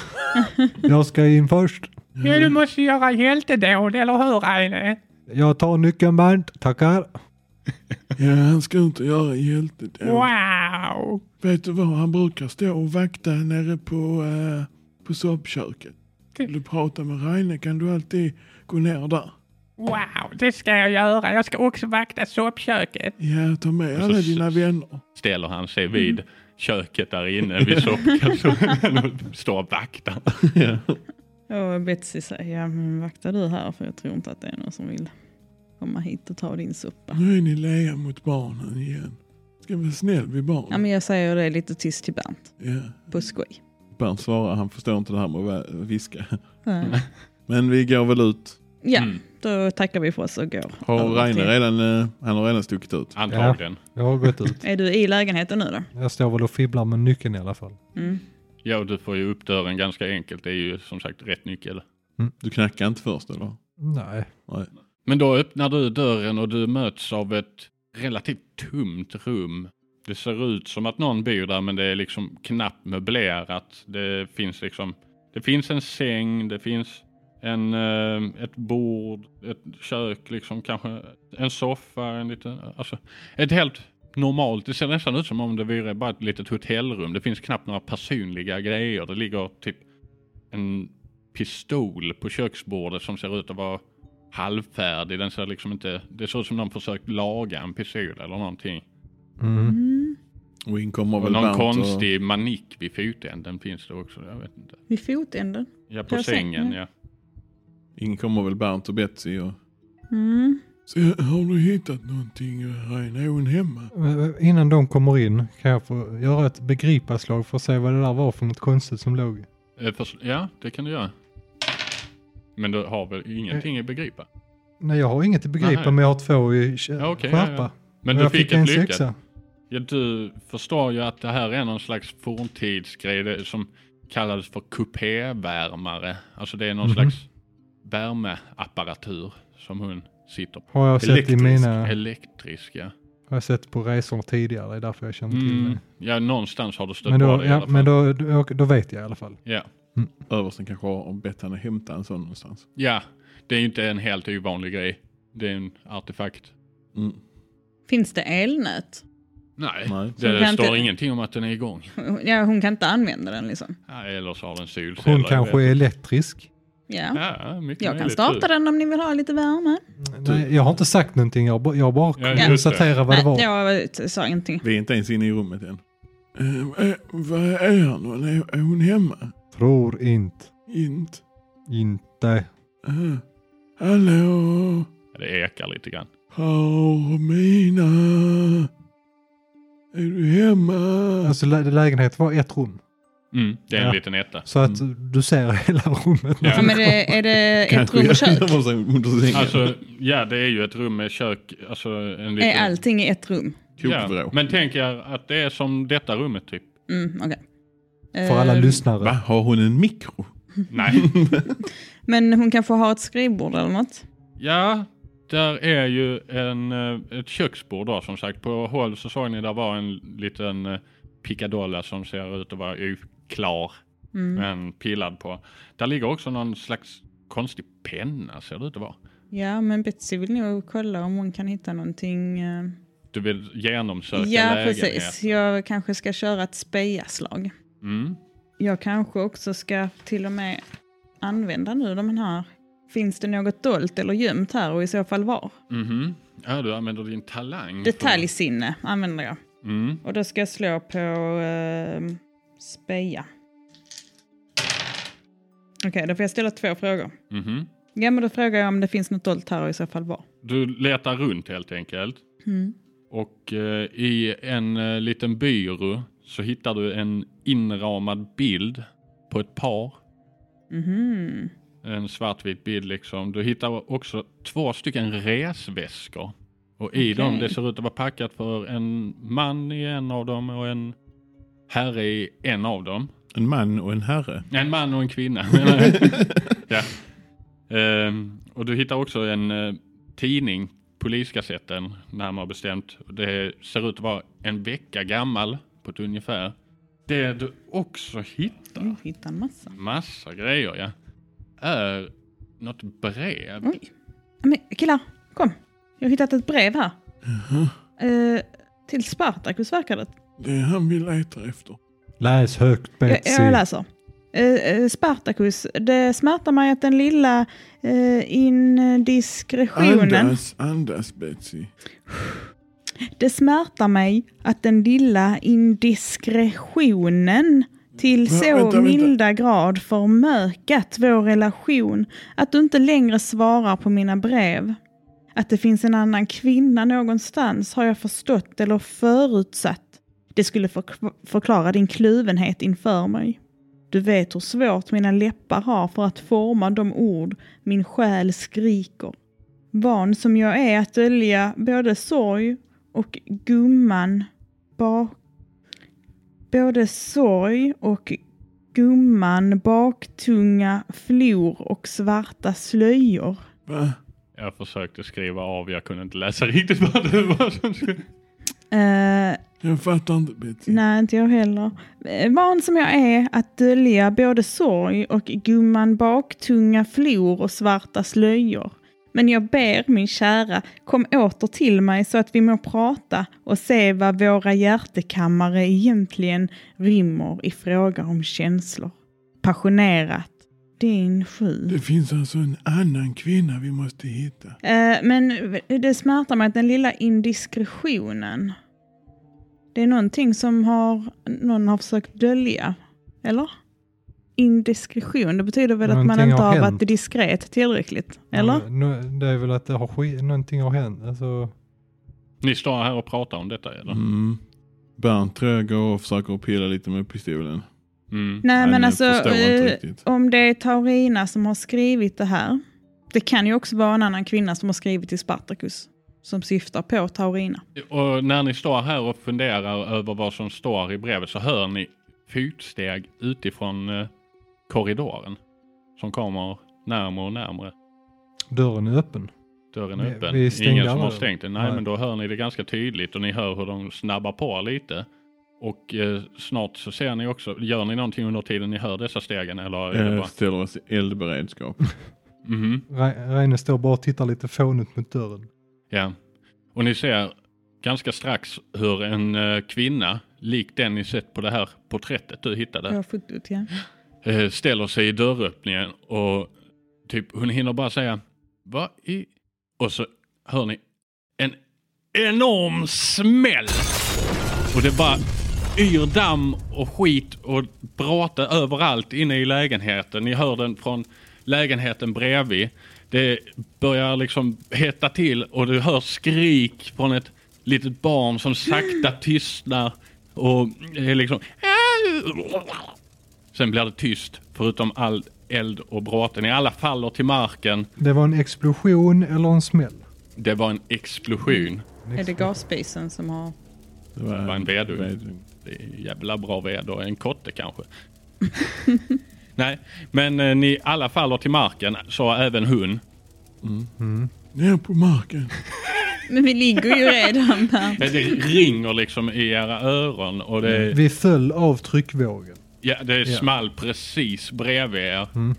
S4: jag ska in först.
S1: Ja, du måste göra hjältedåd, eller hur Reine?
S4: Jag tar nyckeln Bernt, tackar.
S2: Ja, han ska inte göra hjältedåd.
S1: Wow!
S2: Vet du vad, han brukar stå och vakta nere på, eh, på soppköket. Vill du prata med Reine kan du alltid gå ner där.
S1: Wow, det ska jag göra. Jag ska också vakta soppköket.
S2: Ja, ta med alla
S1: Alltså,
S2: dina vänner.
S1: Ställer han sig vid köket där inne vid soppkassonen och står och vaktar.
S3: Och Betsy säger, ja men vakta du här för jag tror inte att det är någon som vill komma hit och ta din soppa.
S2: Nu är ni leja mot barnen igen. Ska vara snäll vid
S3: Ja,
S2: barnen.
S3: men jag säger det lite tyst till Bernt,
S2: Ja.
S3: på skoj.
S2: Bernt svarar, han förstår inte det här med att vä- viska.
S3: Ja,
S2: Men vi går väl ut.
S3: Ja,
S1: Mm.
S3: då tackar vi för oss och går.
S2: Har
S3: över
S2: Reine
S3: till-
S2: redan, eh, han har redan stuckit ut.
S1: Antagligen.
S4: Jag har gått ut.
S3: Är du i lägenheten nu då?
S4: Jag står väl och fibblar med nyckeln i alla fall.
S3: Mm.
S1: Ja, och du får ju upp dörren ganska enkelt. Det är ju som sagt rätt nyckel.
S2: Du knackar inte först eller?
S4: Nej.
S1: Men då öppnar du dörren och du möts av ett relativt tomt rum. Det ser ut som att någon bor där men det är liksom knappt möblerat. Det finns liksom, det finns en säng, det finns en, eh, ett bord, ett kök liksom kanske, en soffa, en liten, alltså ett helt normalt, det ser nästan ut som om det vore bara ett litet hotellrum. Det finns knappt några personliga grejer. Det ligger typ en pistol på köksbordet som ser ut att vara halvfärdig. Den ser liksom inte, det ser ut som någon försökt laga en pistol eller någonting.
S4: Mm.
S3: Mm.
S2: Och in kommer
S1: Och
S2: väl
S1: någon
S2: Bernt
S1: konstig manick vid fotänden finns det också. Jag vet inte.
S3: Vid fotänden.
S1: Ja, på
S3: På
S1: sängen
S3: sängen.
S1: ja.
S2: och... In kommer väl Bernt och Betsy och...
S3: Mm.
S2: Så, har du hittat någonting Reine? Är hon hemma?
S4: Eh, Innan de kommer in kan jag få göra ett begriparslag för att se vad det där var för något konstigt som låg.
S1: Eh, För, ja, det kan du göra. Men du har väl ingenting att begripa?
S4: Nej jag har inget att begripa
S1: Nej.
S4: men jag har två i k-
S1: Ja, okej, ja,
S4: skärpa.
S1: ja. Men
S4: Och
S1: du
S4: jag
S1: fick ett
S4: en
S1: lyckat.
S4: sexa.
S1: Ja, du förstår ju att det här är någon slags forntidsgrej det som kallades för kupévärmare. Alltså det är någon
S4: Mhm.
S1: slags värmeapparatur som hon sitter på.
S4: Har jag sett i
S2: Elektrisk.
S4: mina...
S1: Elektrisk ja.
S4: har jag sett på resor tidigare, det är därför jag känner till
S1: Mm.
S4: det.
S1: Ja, någonstans har du stött
S4: Men,
S1: på
S4: då,
S1: det i alla
S4: ja,
S1: fall.
S4: men då, då, då vet jag i alla fall.
S1: Ja.
S2: Översten kanske har bett henne hämta en sån någonstans.
S1: ja, det är ju inte en helt ovanlig grej. Det är en artefakt.
S2: Mm.
S3: Finns det elnät?
S1: Nej,
S2: Nej.
S1: det
S3: kan
S1: står
S3: inte-
S1: ingenting om att den är igång.
S3: Ja, hon kan inte använda den liksom.
S1: Nej, eller så har den solceller.
S4: Hon
S1: jag
S4: kanske
S1: vet.
S4: är elektrisk.
S3: Ja.
S1: Ja, mycket
S3: Jag kan
S1: möjligt.
S3: starta den om ni vill ha lite värme.
S4: Nej, jag har inte sagt någonting, jag, har bara- jag har bara
S1: Ja, just det.
S4: konstaterat vad det var.
S3: Nej, jag sa ingenting.
S2: Vi är inte ens inne i rummet än. Eh, vad är hon? Är, är hon hemma?
S4: Tror inte.
S2: Inte.
S4: Inte.
S2: Eh, hallå?
S1: Det ekar lite grann.
S2: Carmina? Är du hemma?
S3: Alltså,
S4: Alltså lä- lägenheten var ett rum.
S1: Mm, det är en
S4: Ja.
S1: liten etta.
S4: Så att du ser hela rummet.
S1: Ja.
S3: Ja, men det, är det ett
S2: Kanske
S3: rum och
S2: gömmer
S3: kök?
S2: de sig under sängen.
S1: Alltså, ja det är ju ett rum med kök. Alltså, en liten,
S3: Är allting i ett rum?
S1: ja,
S2: Kokvrå.
S1: Men tänk er att det är som detta rummet typ.
S3: Mm, okej.
S4: För alla
S3: Eh,
S4: lyssnare.
S2: Va, har hon en mikro?
S1: Nej.
S3: Men hon kanske har ett skrivbord eller något?
S1: Ja, där är ju en, eh, ett köksbord då som sagt. På håll så såg ni där var en liten eh, picadolla som ser ut att vara ju klar
S3: Mm.
S1: men pillad på. Där ligger också någon slags konstig penna ser det ut att vara.
S3: Ja, men Betsy vill nog kolla om hon kan hitta någonting. eh.
S1: Du vill genomsöka
S3: Ja,
S1: lägenheten.
S3: precis. Jag kanske ska köra ett spejaslag.
S1: Mm.
S3: Jag kanske också ska till och med använda nu de här. Finns det något dolt eller gömt här och i så fall var?
S1: Mhm. Ja, du använder din talang. för-
S3: Detaljsinne använder jag.
S1: Mm.
S3: Och då ska jag slå på eh, speja. Okej, då får jag ställa två frågor.
S1: Mhm.
S3: Ja, men då frågar jag om det finns något dolt här och i så fall var.
S1: Du letar runt helt enkelt.
S3: Mm.
S1: Och eh, i en eh, liten byrå så hittar du en inramad bild på ett par.
S3: Mhm.
S1: En svartvit bild liksom. Du hittar också två stycken resväskor. Och i dem, det ser ut att vara packat för en man i en av dem och en herre i en av dem.
S2: En man och en herre.
S1: En man och en kvinna. menar jag. ja. Ehm, och du hittar också en eh, tidning, poliskassetten närmare bestämt. Det ser ut att vara en vecka gammal på ett ungefär. Det du också hittar,
S3: Oj, hittar en massa.
S1: massa grejer ja, är något brev.
S3: Oj. Men killar, kom. Jag har hittat ett brev här. Eh, till Spartacus verkar det.
S2: Det är han vi letar efter.
S4: Läs högt
S3: Jag,
S4: Betsy.
S3: jag läser. Eh, eh, Spartacus, det smärtar mig att den lilla eh, indiskretionen
S2: Andas, andas Betsy.
S3: Det smärtar mig att den lilla indiskretionen till
S2: Va-
S3: så
S2: vänta, vänta.
S3: milda grad förmökat vår relation att du inte längre svarar på mina brev. Att det finns en annan kvinna någonstans har jag förstått eller förutsatt. Det skulle förk- förklara din kluvenhet inför mig. Du vet hur svårt mina läppar har för att forma de ord min själ skriker. Van som jag är att dölja både sorg och gumman bak... Både sorg och gumman baktunga flor och svarta slöjor.
S2: Va?
S1: Jag försökte skriva av, jag kunde inte läsa riktigt vad det var som skulle...
S3: Eh,
S2: Jag fattar inte Betsy.
S3: nej, inte jag heller. Eh, Van som jag är att dölja både sorg och gumman baktunga flor och svarta slöjor. Men jag ber min kära, kom åter till mig så att vi må prata och se vad våra hjärtekammare egentligen rymmer i fråga om känslor. Passionerat. Din sju.
S2: Det finns alltså en annan kvinna vi måste hitta.
S3: Eh, men det smärtar mig att den lilla indiskretionen. Det är någonting som har, någon har försökt dölja. Eller? Indiskretion, det betyder väl att man
S4: Någonting
S3: inte
S4: har
S3: har, varit
S4: hänt.
S3: diskret tillräckligt? Eller?
S4: Ja, nu- Det är väl att det har skit, någonting har hänt. Alltså,
S1: Ni står här och pratar om detta eller?
S2: Mm. Bernt tror jag går och försöker pilla lite med pistolen.
S1: Mm.
S3: Nej
S2: Han,
S3: men
S2: eh,
S3: alltså,
S2: förstår inte
S3: eh,
S2: riktigt.
S3: om det är Taurina som har skrivit det här. Det kan ju också vara en annan kvinna som har skrivit till Spartacus. Som syftar på Taurina.
S1: Och när ni står här och funderar över vad som står i brevet så hör ni fotsteg utifrån eh, korridoren som kommer närmare och närmare.
S4: dörren är öppen.
S1: Dörren
S4: Vi-
S1: är öppen.
S4: vi är stängda
S1: Ingen som har
S4: alla.
S1: stängt den. Nej,
S4: Nej.
S1: men då hör ni det ganska tydligt och ni hör hur de snabbar på lite. Och eh, snart så ser ni också, gör ni någonting under tiden ni hör dessa stegen eller?
S4: Eh,
S1: Är det bara...
S2: Jag Eh, ställer oss i eldberedskap.
S1: Mhm.
S4: Re- Reine står bara och tittar lite fånigt mot dörren.
S1: Ja. Och ni ser ganska strax hur en eh, kvinna, lik den ni sett på det här porträttet du hittade.
S3: Jag har fotot ja.
S1: eh, ställer sig i dörröppningen och typ hon hinner bara säga vad i... Och så hör ni en enorm smäll. Och det bara yr damm och skit och bråte överallt inne i lägenheten. Ni hör den från lägenheten bredvid. Det börjar liksom hetta till och du hör skrik från ett litet barn som sakta tystnar och är liksom... Sen blir det tyst, förutom all eld och bråte. Ni alla faller till marken.
S4: Det var en explosion eller en smäll?
S1: Det var en explosion.
S3: Är det gasspisen som har...
S2: Det var,
S1: Det var en vedugn.
S2: vedugn.
S1: Det är jävla bra väder. En kotte kanske. Nej, men eh, ni alla faller till marken, så även hon.
S2: Ner på marken.
S3: Men vi ligger ju redan där.
S1: Eh, Det ringer liksom i era öron och
S2: Mm.
S1: det,
S4: Vi föll av tryckvågen.
S1: ja, det small precis bredvid er.
S2: Mm.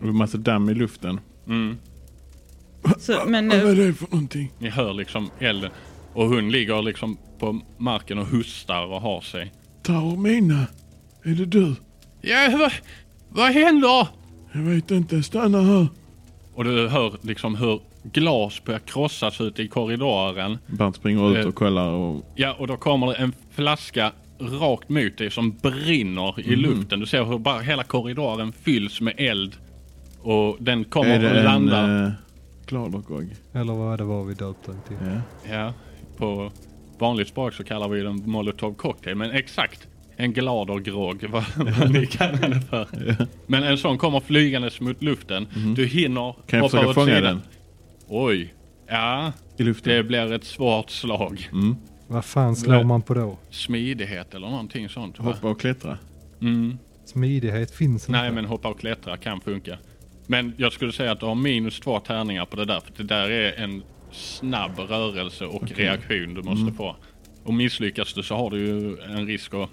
S2: Det var massa damm i luften.
S3: Så, men
S2: Vad
S3: eh,
S2: är det för någonting?
S1: Ni hör liksom elden och hon ligger liksom på marken och hostar och har sig.
S2: Taormina? Är det du?
S1: Ja, vad, vad händer?
S2: Jag vet inte. Stanna här.
S1: Och du hör liksom hur glas börjar krossas ute i korridoren.
S2: Bernt springer ut
S1: Eh.
S2: och kollar och...
S1: Ja, och då kommer det en flaska rakt mot dig som brinner
S2: Mhm.
S1: i luften. Du ser hur bara hela korridoren fylls med eld. Och den kommer
S2: Är det
S1: och
S2: en...
S1: landar
S2: Eh, Gladergog?
S4: Eller vad det var vi döpte den till.
S1: Eh.
S2: Ja.
S1: ja, på vanligt språk så kallar vi den molotov cocktail. Men exakt, en gladergrog vad, vad ni kallar det för. Men en sån kommer flygandes mot luften. Du hinner
S2: Mhm. Kan jag försöka
S1: åt
S2: fånga
S1: sidan.
S2: den?
S1: Oj, ja,
S2: I luften?
S1: det blir ett svårt slag.
S4: Vad fan slår
S1: Nej.
S4: man på då?
S1: Smidighet eller någonting sånt. va?
S2: Hoppa och klättra?
S4: Smidighet finns inte.
S1: Nej, men hoppa och klättra kan funka. Men jag skulle säga att du har minus två tärningar på det där. För det där är en snabb rörelse och reaktion du måste få. Och misslyckas du så har du ju en risk att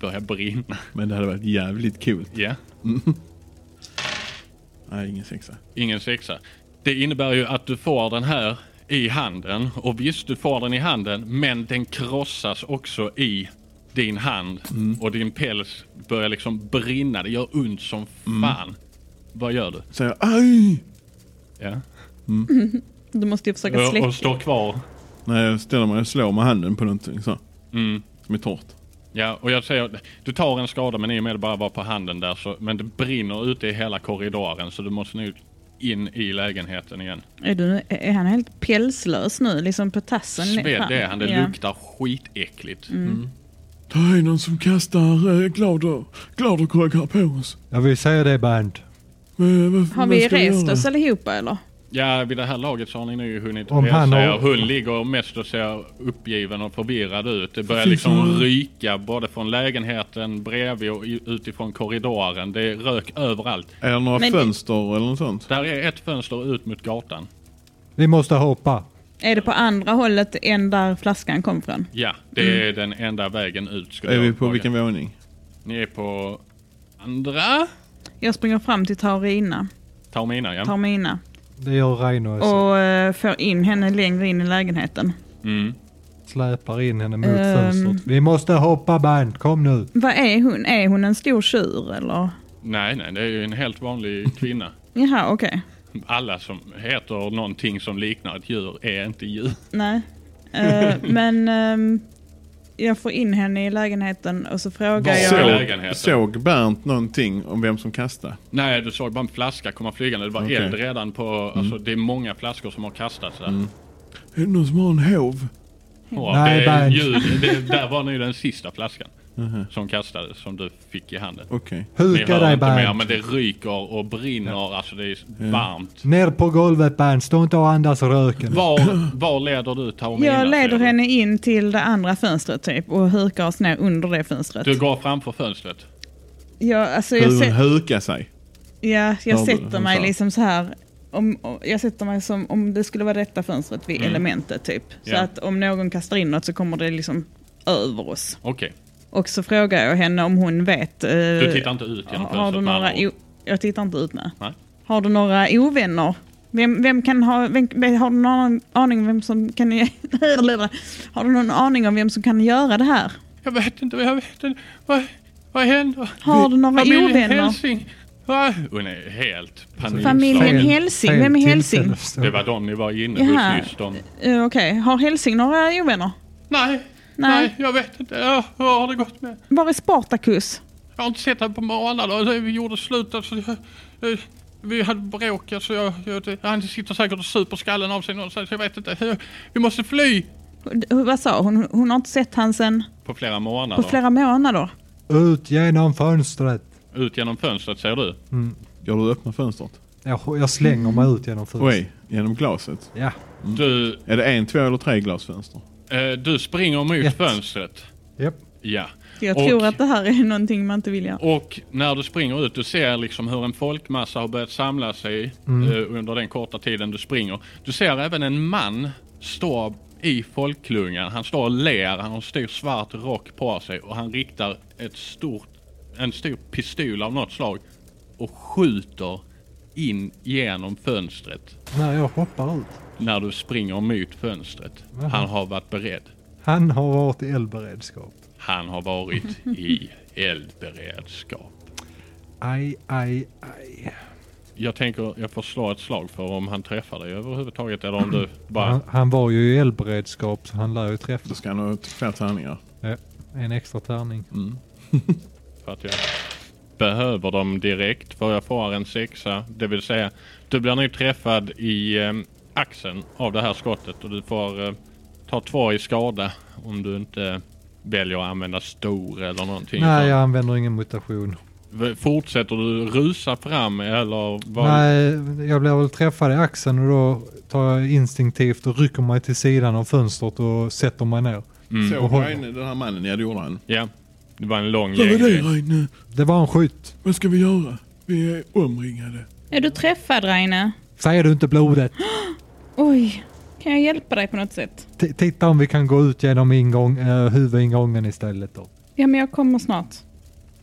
S1: börja brinna.
S2: Men det hade varit jävligt kul.
S1: Ja,
S2: Nej, ingen sexa.
S1: ingen sexa. Det innebär ju att du får den här i handen. Och visst, du får den i handen. Men den krossas också i din hand. Och din päls börjar liksom brinna. Det gör ont som fan. Vad gör du?
S2: Säger jag, aj!
S1: Ja.
S3: du måste ju försöka
S1: Och,
S3: släcka.
S1: och står kvar.
S2: Nej, jag ställer mig och slår med handen på någonting så. Som är torrt.
S1: Ja, och jag säger, du tar en skada men i och med det bara var på handen där så, men det brinner ute i hela korridoren så du måste nu in i lägenheten igen.
S3: Är, du, är han helt pälslös nu? Liksom på tassen?
S1: Sved det är han, det
S3: Ja.
S1: luktar skitäckligt.
S2: Det är någon som kastar eh, glader, gladerkrokar på oss.
S4: Jag vill säga det Bernt.
S2: Men, vad,
S3: Har vi rest oss allihopa eller?
S1: Ja, vid det här laget så har ni nu hunnit
S4: Om
S1: resa
S4: han har-
S1: er. Hon ligger mest och ser uppgiven och förvirrad ut. Det börjar
S2: Fy
S1: liksom
S2: fan.
S1: ryka både från lägenheten bredvid och i- utifrån korridoren. Det är rök överallt.
S2: Är det några
S3: Men-
S2: fönster eller något sånt?
S1: Där är ett fönster ut mot gatan.
S4: Vi måste hoppa.
S3: Är det på andra hållet än där flaskan kom från?
S1: Ja, det är den enda vägen ut. skulle
S2: Är
S1: jag
S2: vi på
S1: fråga.
S2: vilken våning?
S1: Ni är på andra
S3: Jag springer fram till Taurina,
S1: Taormina, ja.
S3: Tarmina
S4: Det gör Reino också.
S3: och eh, får in henne längre in i lägenheten.
S1: Mm.
S4: Släpar in henne mot
S3: Ehm.
S4: fönstret. Vi måste hoppa Bernt, kom nu.
S3: Vad är hon? Är hon en stor tjur eller?
S1: Nej, nej, det är ju en helt vanlig kvinna.
S3: Jaha, okej.
S1: Alla som heter någonting som liknar ett djur är inte djur.
S3: Nej. Eh, men ehm, jag får in henne i lägenheten och så frågar
S1: Var?
S3: jag...
S1: Så.
S2: Såg,
S1: Lägenheten.
S2: såg Bernt någonting om vem som kastade?
S1: Nej, du såg bara en flaska komma flygande. Det var
S2: Okej.
S1: eld redan på... Alltså, det är många flaskor som har kastats där.
S2: Är det någon som har en hov?
S1: Ja,
S4: Nej,
S1: det är
S4: Bernt.
S1: ljud. Det, där var nu den sista flaskan som kastades, som du fick i handen.
S2: Okej.
S1: Ni
S4: Huka
S1: hör
S4: dig
S1: inte mer, men
S4: Bernt.
S1: det ryker och brinner. Alltså, det är varmt.
S4: Ner på golvet Bernt, stå inte och andas röken.
S1: Var, var leder du Taormina?
S3: Jag leder
S1: säger du?
S3: henne in till det andra fönstret typ och hukar oss ner under det fönstret.
S1: Du går framför fönstret.
S3: Jag, alltså, jag,
S2: Hur
S3: sä-
S2: hon hukar sig.
S3: ja, jag
S2: Hör du?
S3: sätter
S2: Hon
S3: mig
S2: sa.
S3: liksom så här. Om, om- jag sätter mig som om det skulle vara detta fönstret vid elementet typ. Så
S1: Mm. Ja.
S3: att om någon kastar in något så kommer det liksom över oss.
S1: Okej.
S3: Och så frågar jag henne om hon vet. eh,
S1: Du tittar inte ut genom
S3: har du
S1: fönstret med
S3: några
S1: andra ord.
S3: o- Jag tittar inte ut med.
S1: Nej.
S3: Har du några ovänner? Vem, vem kan ha, vem, har du någon aning om vem som kan... har du någon aning om vem som kan göra det här?
S1: Jag vet inte, jag vet inte. Vad, vad händer?
S3: Har du några
S1: Familjen
S3: ovänner?
S1: Helsing. Va? Hon är helt panikslagen.
S3: Familjen
S4: Fel-
S3: Helsing,
S4: fel
S3: vem är Helsing?
S4: tillfälle förstår
S1: Det
S4: jag.
S1: var de ni var inne
S3: Jaha.
S1: hos nyss. De...
S3: Eh, Okej, har Helsing några ovänner?
S1: Nej, nej, jag vet inte. Ja, hur har det gått med?
S3: Var är Spartacus?
S1: Jag har inte sett henne på månader. Alltså, Vi gjorde slut. Alltså, jag, eh, vi hade bråk. Alltså, jag, jag, det- han sitter säkert och super skallen av sig någonstans. Jag vet inte. Eh, Vi måste fly.
S3: Eh, Vad sa hon? Hon har inte sett han sen
S1: På flera
S3: på
S1: månader.
S3: flera månader.
S4: Ut genom fönstret.
S1: Ut genom fönstret ser du.
S4: Mm.
S2: Gör du öppna fönstret?
S4: Jag, jag slänger mig ut genom fönstret.
S2: Oj, genom glaset.
S4: Ja.
S3: Mm.
S1: Du,
S2: Är det en, två eller tre glasfönster?
S1: eh, du springer mot
S4: Ett.
S1: fönstret.
S4: Japp.
S1: Ja.
S3: Jag
S1: Och-
S3: tror att det här är någonting man inte vill göra.
S1: Och när du springer ut, du ser liksom hur en folkmassa har börjat samla sig eh, under den korta tiden du springer. Du ser även en man stå i folkklungan. Han står och ler, han har en stor svart rock på sig och han riktar ett stort, en stor pistol av något slag och skjuter in genom fönstret
S4: När jag hoppar ut.
S1: när du springer mot fönstret.
S4: Jaha.
S1: Han har varit beredd.
S4: Han har varit i eldberedskap.
S1: Han har varit i eldberedskap.
S4: Aj, aj, aj.
S1: Jag tänker jag får slå ett slag för om han träffar dig överhuvudtaget eller om
S4: Mm.
S1: du bara...
S4: Han, han var ju i eldberedskap så han lär ju träffa.
S2: Då ska han ha ut fler tärningar.
S4: Ja, en extra tärning.
S1: Mm. För att jag behöver dem direkt för jag får en sexa. Det vill säga, du blir nu träffad i eh, axeln av det här skottet och du får eh, ta två i skada om du inte väljer att använda stor eller någonting.
S4: Nej, jag
S1: Så,
S4: använder ingen mutation.
S1: v- Fortsätter du rusa fram eller? Vad?
S4: Nej, jag blir väl träffad i axeln och då tar jag instinktivt och rycker mig till sidan av fönstret och sätter mig ner.
S2: Såg Reine den här mannen? Ja, det gjorde han.
S1: Ja, det var en lång
S2: Vad var det
S1: gäng.
S2: Reine?
S4: Det var en skytt.
S2: Vad ska vi göra? Vi är omringade.
S3: Är du träffad Reine?
S4: Säger du inte blodet?
S3: Oj, kan jag hjälpa dig på något sätt?
S4: T- titta om vi kan gå ut genom ingång, eh, huvudingången istället då.
S3: Ja, men jag kommer snart.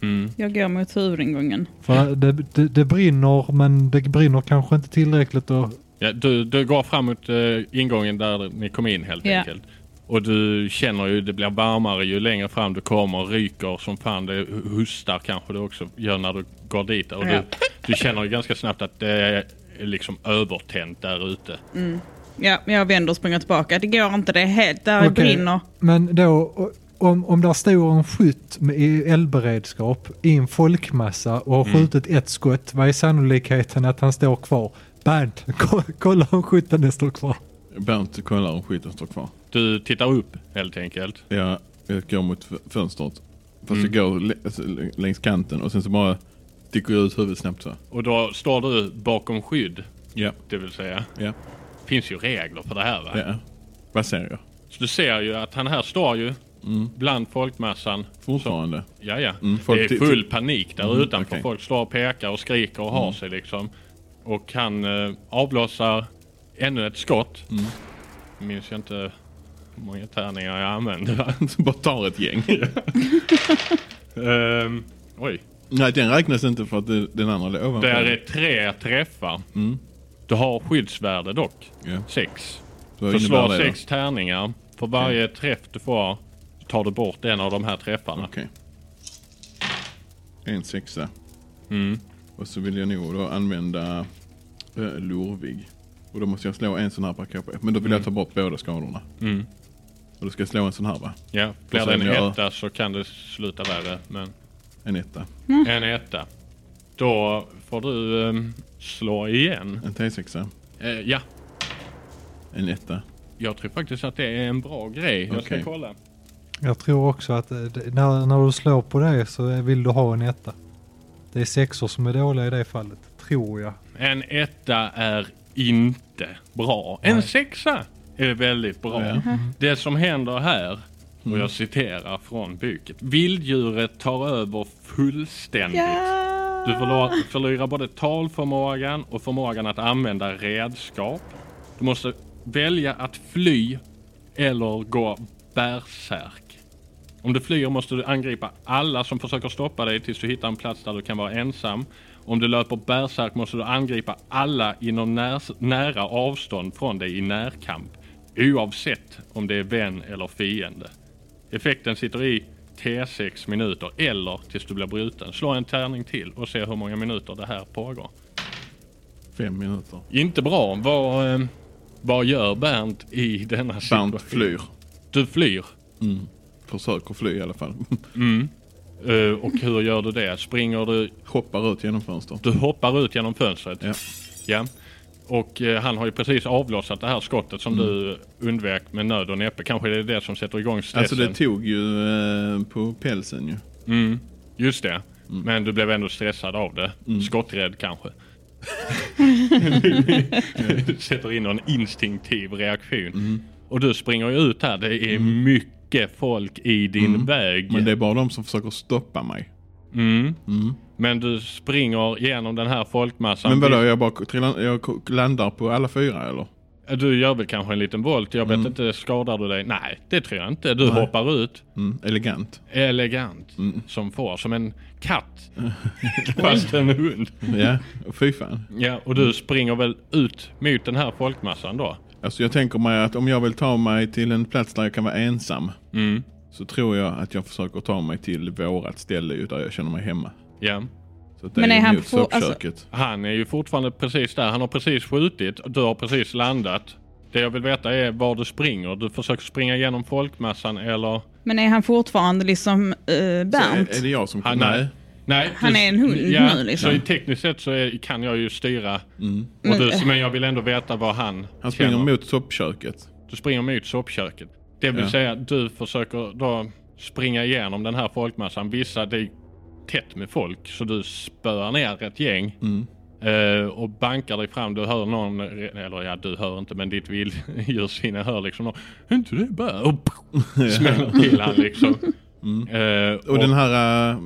S1: Mm.
S3: Jag går mot huvudingången.
S4: För det, det, det brinner, men det brinner kanske inte tillräckligt och
S1: Ja, du, du går fram mot eh, ingången där ni kom in helt
S3: Ja.
S1: enkelt. Och du känner ju det blir varmare ju längre fram du kommer. Ryker som fan. Det hustar kanske du också gör när du går dit. Och
S3: Ja.
S1: du, du känner ju ganska snabbt att det är liksom övertänt där ute.
S3: Ja, jag vänder och springer tillbaka. Det går inte, det är helt... Där
S4: Okej.
S3: brinner.
S4: Men då, o- om, om där står en skytt med- i eldberedskap i en folkmassa och
S3: Mm.
S4: har skjutit ett skott, vad är sannolikheten att han står kvar? Bernt, ko- kolla om skytten står kvar.
S2: Bernt kollar om skiten står kvar.
S1: Du tittar upp helt enkelt.
S2: Jag, jag går mot f- fönstret. Fast jag går lä- alltså, l- längs kanten och sen så bara sticker jag ut huvudet snabbt så.
S1: Och då står du bakom skydd.
S2: Ja.
S1: Det vill säga.
S2: Ja.
S1: finns ju regler för det här va?
S2: ja. Vad ser jag?
S1: Så du ser ju att han här står ju bland folkmassan.
S2: Fortfarande?
S1: Ja, ja.
S2: Mm, folk
S1: det är
S2: ty- Mm,
S1: full panik där utanför.
S2: okej. Mm.
S1: Folk slår och pekar och skriker och har sig liksom. Och han eh, avlossar ännu ett skott.
S2: Mm.
S1: Minns jag inte hur många tärningar jag använde. va?
S2: Så bara tar ett gäng.
S1: Ehm, oj,
S2: Nej, den räknas inte för att det, den andra låg ovanför.
S1: där är tre träffar. Du har skyddsvärde dock.
S2: Mm. Ja.
S1: Sex.
S2: Vad
S1: Så
S2: innebär
S1: slå
S2: det då?
S1: sex tärningar. För varje träff du får tar du bort en av de här träffarna.
S2: Okej. En sexa. Och så vill jag nog då använda äh, lurvig. Och då måste jag slå en sån här per KP. Men då vill jag ta bort båda skadorna. Och då ska jag slå en sån här va?
S1: Ja, blir
S2: Och
S1: det
S2: sen
S1: en
S2: jag-
S1: etta så kan det sluta värre. Men...
S2: En etta.
S1: En etta. Då får du ehm, slå igen.
S2: En T6.
S1: Eh, ja,
S2: En etta.
S1: jag tror faktiskt att det är en bra grej. Jag ska
S2: Okej.
S1: kolla.
S4: Jag tror också att eh, det- när, när du slår på det så vill du ha en etta. Det är sexor som är dåliga i det fallet, tror jag.
S1: En etta är inte bra. En sexa är väldigt bra.
S2: Ja. Mm.
S1: Det som händer här, och jag citerar från boken. Vilddjuret tar över fullständigt.
S3: Ja.
S1: Du förlorar, förlorar både talförmågan och förmågan att använda redskap. Du måste välja att fly eller gå bärsärk. Om du flyr måste du angripa alla som försöker stoppa dig tills du hittar en plats där du kan vara ensam. Om du löper bärsärk måste du angripa alla inom när, nära avstånd från dig i närkamp. Oavsett om det är vän eller fiende. Effekten sitter i T6 minuter eller tills du blir bruten. Slå en tärning till och se hur många minuter det här pågår.
S2: Fem minuter.
S1: Inte bra. Vad, eh, vad gör Bernt i denna situation?
S2: Bernt flyr.
S1: Du flyr.
S2: Försöker fly i alla fall.
S1: Eh, och hur gör du det? Springer du?
S2: Hoppar ut genom fönstret.
S1: Du hoppar ut genom fönstret.
S2: Ja.
S1: Ja. Och eh, han har ju precis avlossat det här skottet som
S2: Mm.
S1: du undvek med nöd och näppe. Kanske det är det som sätter igång stressen.
S2: Alltså det tog ju eh, på pälsen ju.
S1: Just det. Men du blev ändå stressad av det.
S2: Mm.
S1: Skotträdd kanske. du sätter in en instinktiv reaktion.
S2: Mm.
S1: Och du springer ju ut här. Det är mycket folk i din väg.
S2: Mm. Men det är bara de som försöker stoppa mig.
S1: Men du springer genom den här folkmassan.
S2: Men vadå, jag bara trillar, jag k- landar på alla fyra eller?
S1: Du gör väl kanske en liten volt. Jag vet inte, skadar du dig? Nej, det tror jag inte. Du hoppar ut.
S2: Mm, elegant.
S1: Elegant
S2: Mm.
S1: som får, som en katt. Fast en hund.
S2: Ja, fy fan.
S1: Ja, och du springer väl ut mot den här folkmassan då?
S2: Alltså jag tänker mig att om jag vill ta mig till en plats där jag kan vara ensam. Så tror jag att jag försöker ta mig till vårat ställe ju, där jag känner mig hemma.
S1: Ja.
S2: Så att det
S3: Men
S2: är,
S3: är han
S2: mot
S3: for- alltså-
S2: soppköket.
S1: Han är ju fortfarande precis där. Han har precis skjutit. Du har precis landat. Det jag vill veta är var du springer. Du försöker springa genom folkmassan eller?
S3: Men är han fortfarande liksom uh, Bernt?
S2: Är, är det jag som...
S1: Han-
S2: nej.
S1: Nej,
S3: Han
S1: du-
S3: är en hund
S1: ja,
S3: nu, liksom.
S1: Så i tekniskt sett så är, kan jag ju styra. Och du, men jag vill ändå veta vad han
S2: Mm. Han springer
S1: känner.
S2: mot soppköket.
S1: Du springer mot soppköket. Det vill
S2: Ja.
S1: säga du försöker då springa igenom den här folkmassan. Vissa det är tätt med folk så du spöar ner ett gäng.
S2: Mm.
S1: eh, Och bankar dig fram. Du hör någon, eller ja du hör inte men ditt vilddjurssinne hör liksom någon. "Är inte det bara? Och pff, smäller till han liksom. Eh,
S2: Mm. Och, den här äh,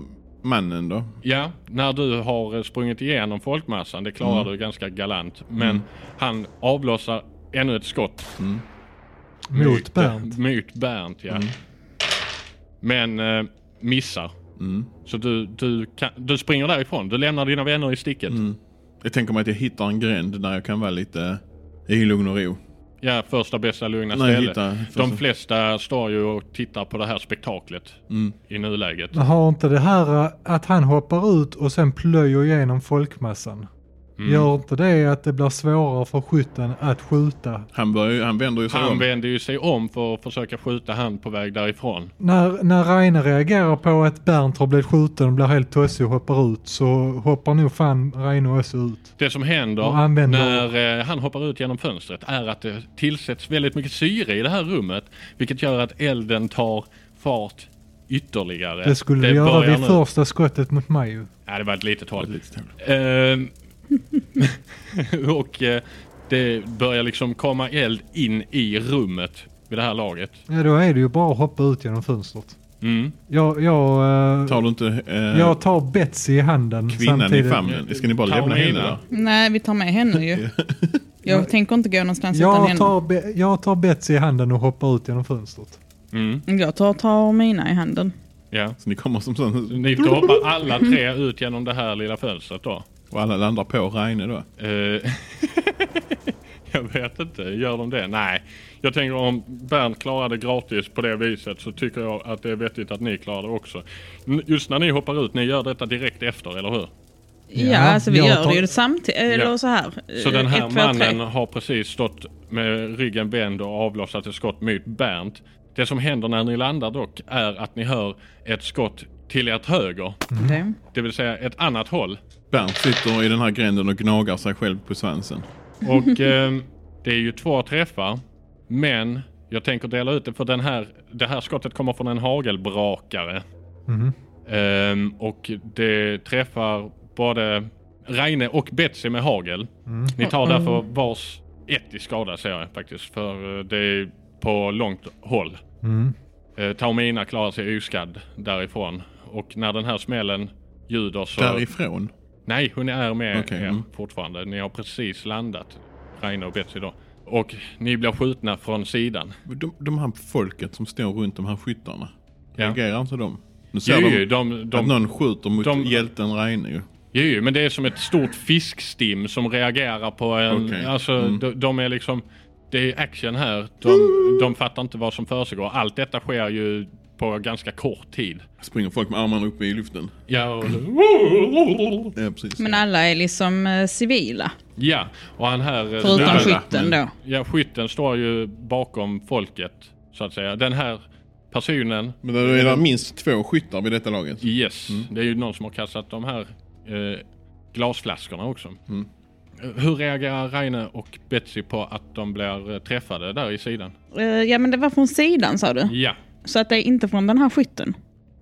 S2: mannen då?
S1: Ja, när du har eh, sprungit igenom folkmassan, det klarar
S2: Mm.
S1: du ganska galant. Men han avlossar ännu ett skott. Mm.
S4: Mot Bernt.
S1: Mot Bernt, ja.
S4: Mm.
S1: Men eh, missar.
S4: Mm.
S1: Så du, du, kan, du springer därifrån. Du lämnar dina vänner i sticket.
S4: Mm.
S2: Jag tänker mig att jag hittar en gränd där jag kan vara lite i lugn och ro.
S1: Ja, första bästa lugna
S2: Nej,
S1: ställe.
S2: hitta
S1: De
S2: första-
S1: flesta står ju och tittar på det här spektaklet
S4: Mm.
S1: i nuläget.
S4: Men Har inte det här eh, att han hoppar ut och sen plöjer igenom folkmassan.
S1: Mm.
S4: Gör inte det att det blir svårare för skytten att skjuta?
S2: Han, börjar, ju- han vänder ju sig
S1: Han
S2: om.
S1: vänder ju sig om för att försöka skjuta han på väg därifrån.
S4: När, när Reine reagerar på att Bernt har blivit skjuten och blir helt tossig och hoppar ut så hoppar nog fan Reine också ut.
S1: Det som händer
S4: Och använder-
S1: när eh, han hoppar ut genom fönstret är att det tillsätts väldigt mycket syre i det här rummet. Vilket gör att elden tar fart ytterligare.
S4: Det skulle det göra
S1: börjar
S4: vid
S1: nu.
S4: första skottet mot mig ju.
S1: Ja, det var ett litet hål.
S2: Lite snäll.
S1: Ehm, och eh, det börjar liksom komma eld in i rummet vid det här laget.
S4: Ja, då är det ju bara att hoppa ut genom fönstret.
S1: Mm.
S4: Jag, jag, eh,
S2: Tar du inte eh,
S4: jag tar Betsy i handen
S2: kvinnan
S4: samtidigt.
S2: i famnen? Ska ni bara lämna
S1: Carolina.
S2: henne där?
S3: Nej, vi tar med henne ju. Jag tänker inte gå någonstans utan
S4: Jag
S3: henne.
S4: tar, Be- jag tar Betsy i handen och hoppar ut genom fönstret.
S1: Mm,
S3: Jag tar, tar mina i handen.
S1: ja.
S2: Så ni kommer som sån
S1: Ni hoppar alla tre ut genom det här lilla fönstret då.
S2: och alla landar på Reine då?
S1: Eh, jag vet inte, gör de det? Nej. Jag tänker om Bernt klarade gratis på det viset så tycker jag att det är vettigt att ni klarar det också. N- Just när ni hoppar ut, ni gör detta direkt efter, eller hur?
S3: Ja,
S4: Ja,
S3: alltså vi
S4: jag
S3: gör
S4: tar-
S3: det ju samtidigt. Eller
S1: Ja.
S3: så här.
S1: Så den här
S3: Eh, Ett, två,
S1: mannen
S3: tre.
S1: har precis stått med ryggen vänd och avlossat ett skott mot Bernt. Det som händer när ni landar dock är att ni hör ett skott till ert höger,
S3: Okej.
S1: det vill säga ett annat håll.
S2: Bernt sitter i den här gränden och gnagar sig själv på svansen.
S1: Och ehm, det är ju två träffar. Men jag tänker dela ut det för den här, det här skottet kommer från en hagelbrakare.
S4: Mhm.
S1: Ehm, och det träffar både Reine och Betsy med hagel.
S4: Mm.
S1: Ni tar därför vars ett i skada ser jag faktiskt. För eh, det är på långt håll.
S4: Mm.
S1: Eh, Taumina klarar sig oskadd därifrån. Och när den här smällen ljuder så...
S2: Därifrån?
S1: Nej, hon är med
S2: Okej,
S1: er
S2: mm.
S1: fortfarande. Ni har precis landat, Reine och Betsy då. Och ni blir skjutna från sidan.
S2: De, de här folket som står runt de här skyttarna.
S1: Ja.
S2: Reagerar inte de? Nu ser
S1: Jo,
S2: de
S1: ju, de,
S2: att
S1: de,
S2: någon skjuter mot
S1: de-
S2: hjälten Reine ju.
S1: jo, ju, men det är som ett stort fiskstim som reagerar på en...
S2: Okej,
S1: Alltså,
S2: mm.
S1: de, de är liksom... Det är action här. De, de fattar inte vad som försiggår. Allt detta sker ju på ganska kort tid.
S2: Springer folk med armarna uppe i luften.
S1: Ja, och,
S2: Ja, precis.
S3: Men alla är liksom eh, civila.
S1: ja, och han här... eh,
S3: Förutom
S2: alla,
S3: skytten
S2: men-
S3: då.
S1: Ja, skytten står ju bakom folket, så att säga. Den här personen
S2: Men då är det minst två skyttar vid detta laget.
S1: Yes,
S2: Mm.
S1: det är ju någon som har kastat de här eh, glasflaskorna också.
S2: Mm.
S1: Eh, Hur reagerar Reine och Betsy på att de blir eh, träffade där i sidan?
S3: Eh, Ja men det var från sidan sa du.
S1: Ja,
S3: Så att det är inte från den här skytten.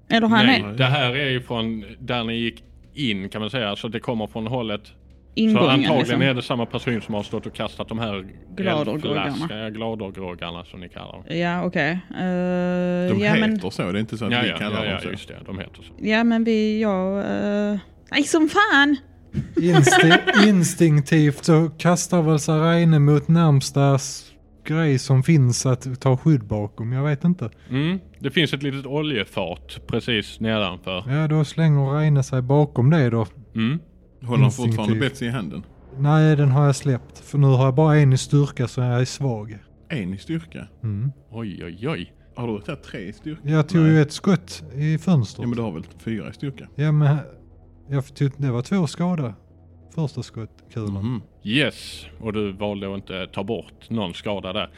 S3: Eller han
S1: Nej,
S3: är
S1: det här är ju från där ni gick in kan man säga. Så det kommer från hållet. Så
S3: ingången.
S1: antagligen
S3: liksom.
S1: är det samma person som har stått och kastat de här
S3: Gladorgroggarna.
S1: eldflaskan- ja, gladorgroggarna som ni kallar dem.
S3: Ja, okej. Eh,
S2: De
S3: ja,
S2: heter
S3: men,
S2: så, det är inte så att
S1: Ja,
S2: vi
S1: ja,
S2: kallar
S1: ja, ja,
S2: dem
S1: just det. De heter så.
S3: ja, men vi, jag... eh, nej, som fan!
S4: Insti- instinktivt så kastar väl Saraine mot närmsta s- grej som finns att ta skydd bakom. Jag vet inte.
S1: Mm. Det finns ett litet oljefat precis nedanför.
S4: Ja, då slänger Reine sig bakom det då.
S1: Mm.
S2: så. Håller han fortfarande
S4: Instinktivt.
S2: Betsy i handen?
S4: Nej, den har jag släppt. För nu har jag bara en i styrka så jag är svag.
S2: En i styrka?
S4: Mm.
S1: Oj, oj, oj.
S2: Har du tagit tre i styrka?
S4: Jag tog
S2: Nej.
S4: ju ett skott i fönstret.
S2: Ja men du har väl fyra i styrka?
S4: Ja, men jag tog, det var två skada. Första skottkulan.
S2: Mhm.
S1: Yes, och du valde att inte ta bort någon skada där.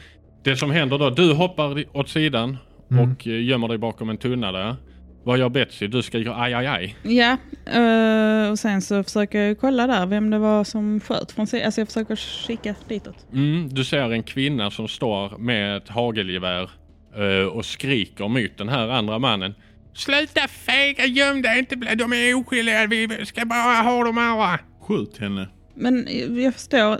S1: Det som händer då, du hoppar i- åt sidan
S4: Mm.
S1: och eh, gömmer dig bakom en tunna där. Vad gör Betsy? Du skriker aj, aj, aj.
S3: Ja, eh, och sen så försöker jag kolla där vem det var som sköt från sig. Alltså jag försöker kika ditåt.
S1: Mm, du ser en kvinna som står med ett hagelgevär eh, och skriker mot den här andra mannen. Sluta fega, göm dig inte, bla- de är oskyldiga, vi ska bara ha dem andra.
S2: Skjut henne.
S3: Men eh, jag förstår,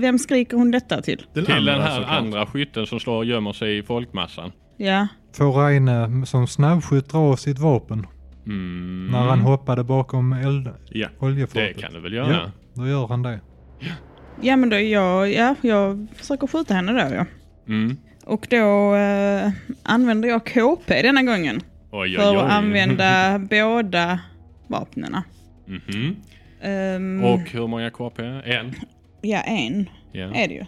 S3: vem skriker hon detta till?
S1: Till den
S2: andra
S1: här
S2: såklart.
S1: andra skytten som står och gömmer sig i folkmassan.
S3: Ja,
S4: Får Reine som snabbskytt dra av sitt vapen
S1: Mm,
S4: när han hoppade bakom eld,
S1: ja, det
S4: oljefatet?
S1: kan du väl göra.
S4: Ja, då gör han det.
S3: ja men då jag, ja, jag försöker skjuta henne då ja.
S1: Mm.
S3: Och då eh, använder jag KP denna gången.
S1: Oj,
S3: För
S1: oj, oj.
S3: att använda båda vapnen.
S1: Mhm.
S3: Ehm,
S1: Och hur många KP? En?
S3: Ja, en
S1: Ja.
S3: är det ju.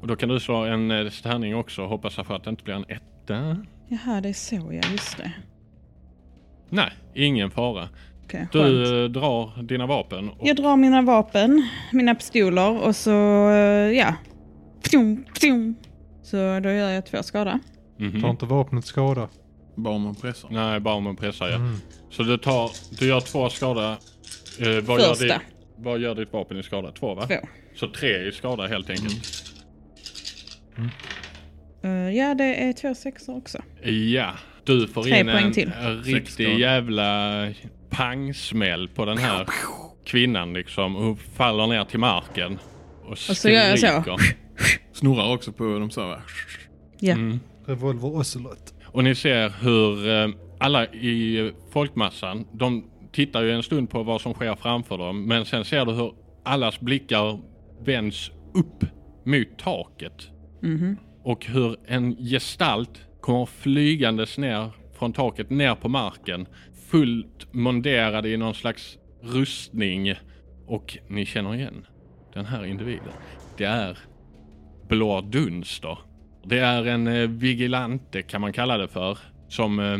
S1: Och då kan du slå en eh, tärning också. Hoppas jag för att det inte blir en etta.
S3: Jaha, det är så ja, just det.
S1: Nej, ingen fara.
S3: Okej,
S1: Du
S3: skönt.
S1: eh, drar dina vapen. Och,
S3: Jag drar mina vapen, mina pistoler och så, eh, ja. Pjum, pjum. Så då gör jag två skada.
S1: Mhm.
S4: Tar inte vapnet skada.
S2: Bara om man pressar.
S1: Nej, bara om en pressar ja. Så du tar, du gör två skada. Eh, vad, gör
S3: Första.
S1: ditt, vad gör ditt vapen i skada? Två va?
S3: Två.
S1: Så tre i skada helt enkelt.
S3: Eh, ja, det är två sexor också.
S1: Ja, du får
S3: Tre
S1: in
S3: poäng
S1: en
S3: till.
S2: Sex skada.
S1: riktig jävla pangsmäll på den här kvinnan liksom. Hon faller ner till marken. Och, och
S3: så gör jag så.
S2: Snurrar också på dem så här.
S3: Ja.
S2: Mm.
S4: Revolver Ocelot.
S1: Och ni ser hur eh, alla i eh, folkmassan, de tittar ju en stund på vad som sker framför dem. Men sen ser du hur allas blickar vänds upp mot taket. Och hur en gestalt kommer flygandes ner från taket ner på marken. Fullt monderad i någon slags rustning. Och ni känner igen den här individen. Det är Blå Dunster. Det är en eh, vigilante kan man kalla det för. Som eh,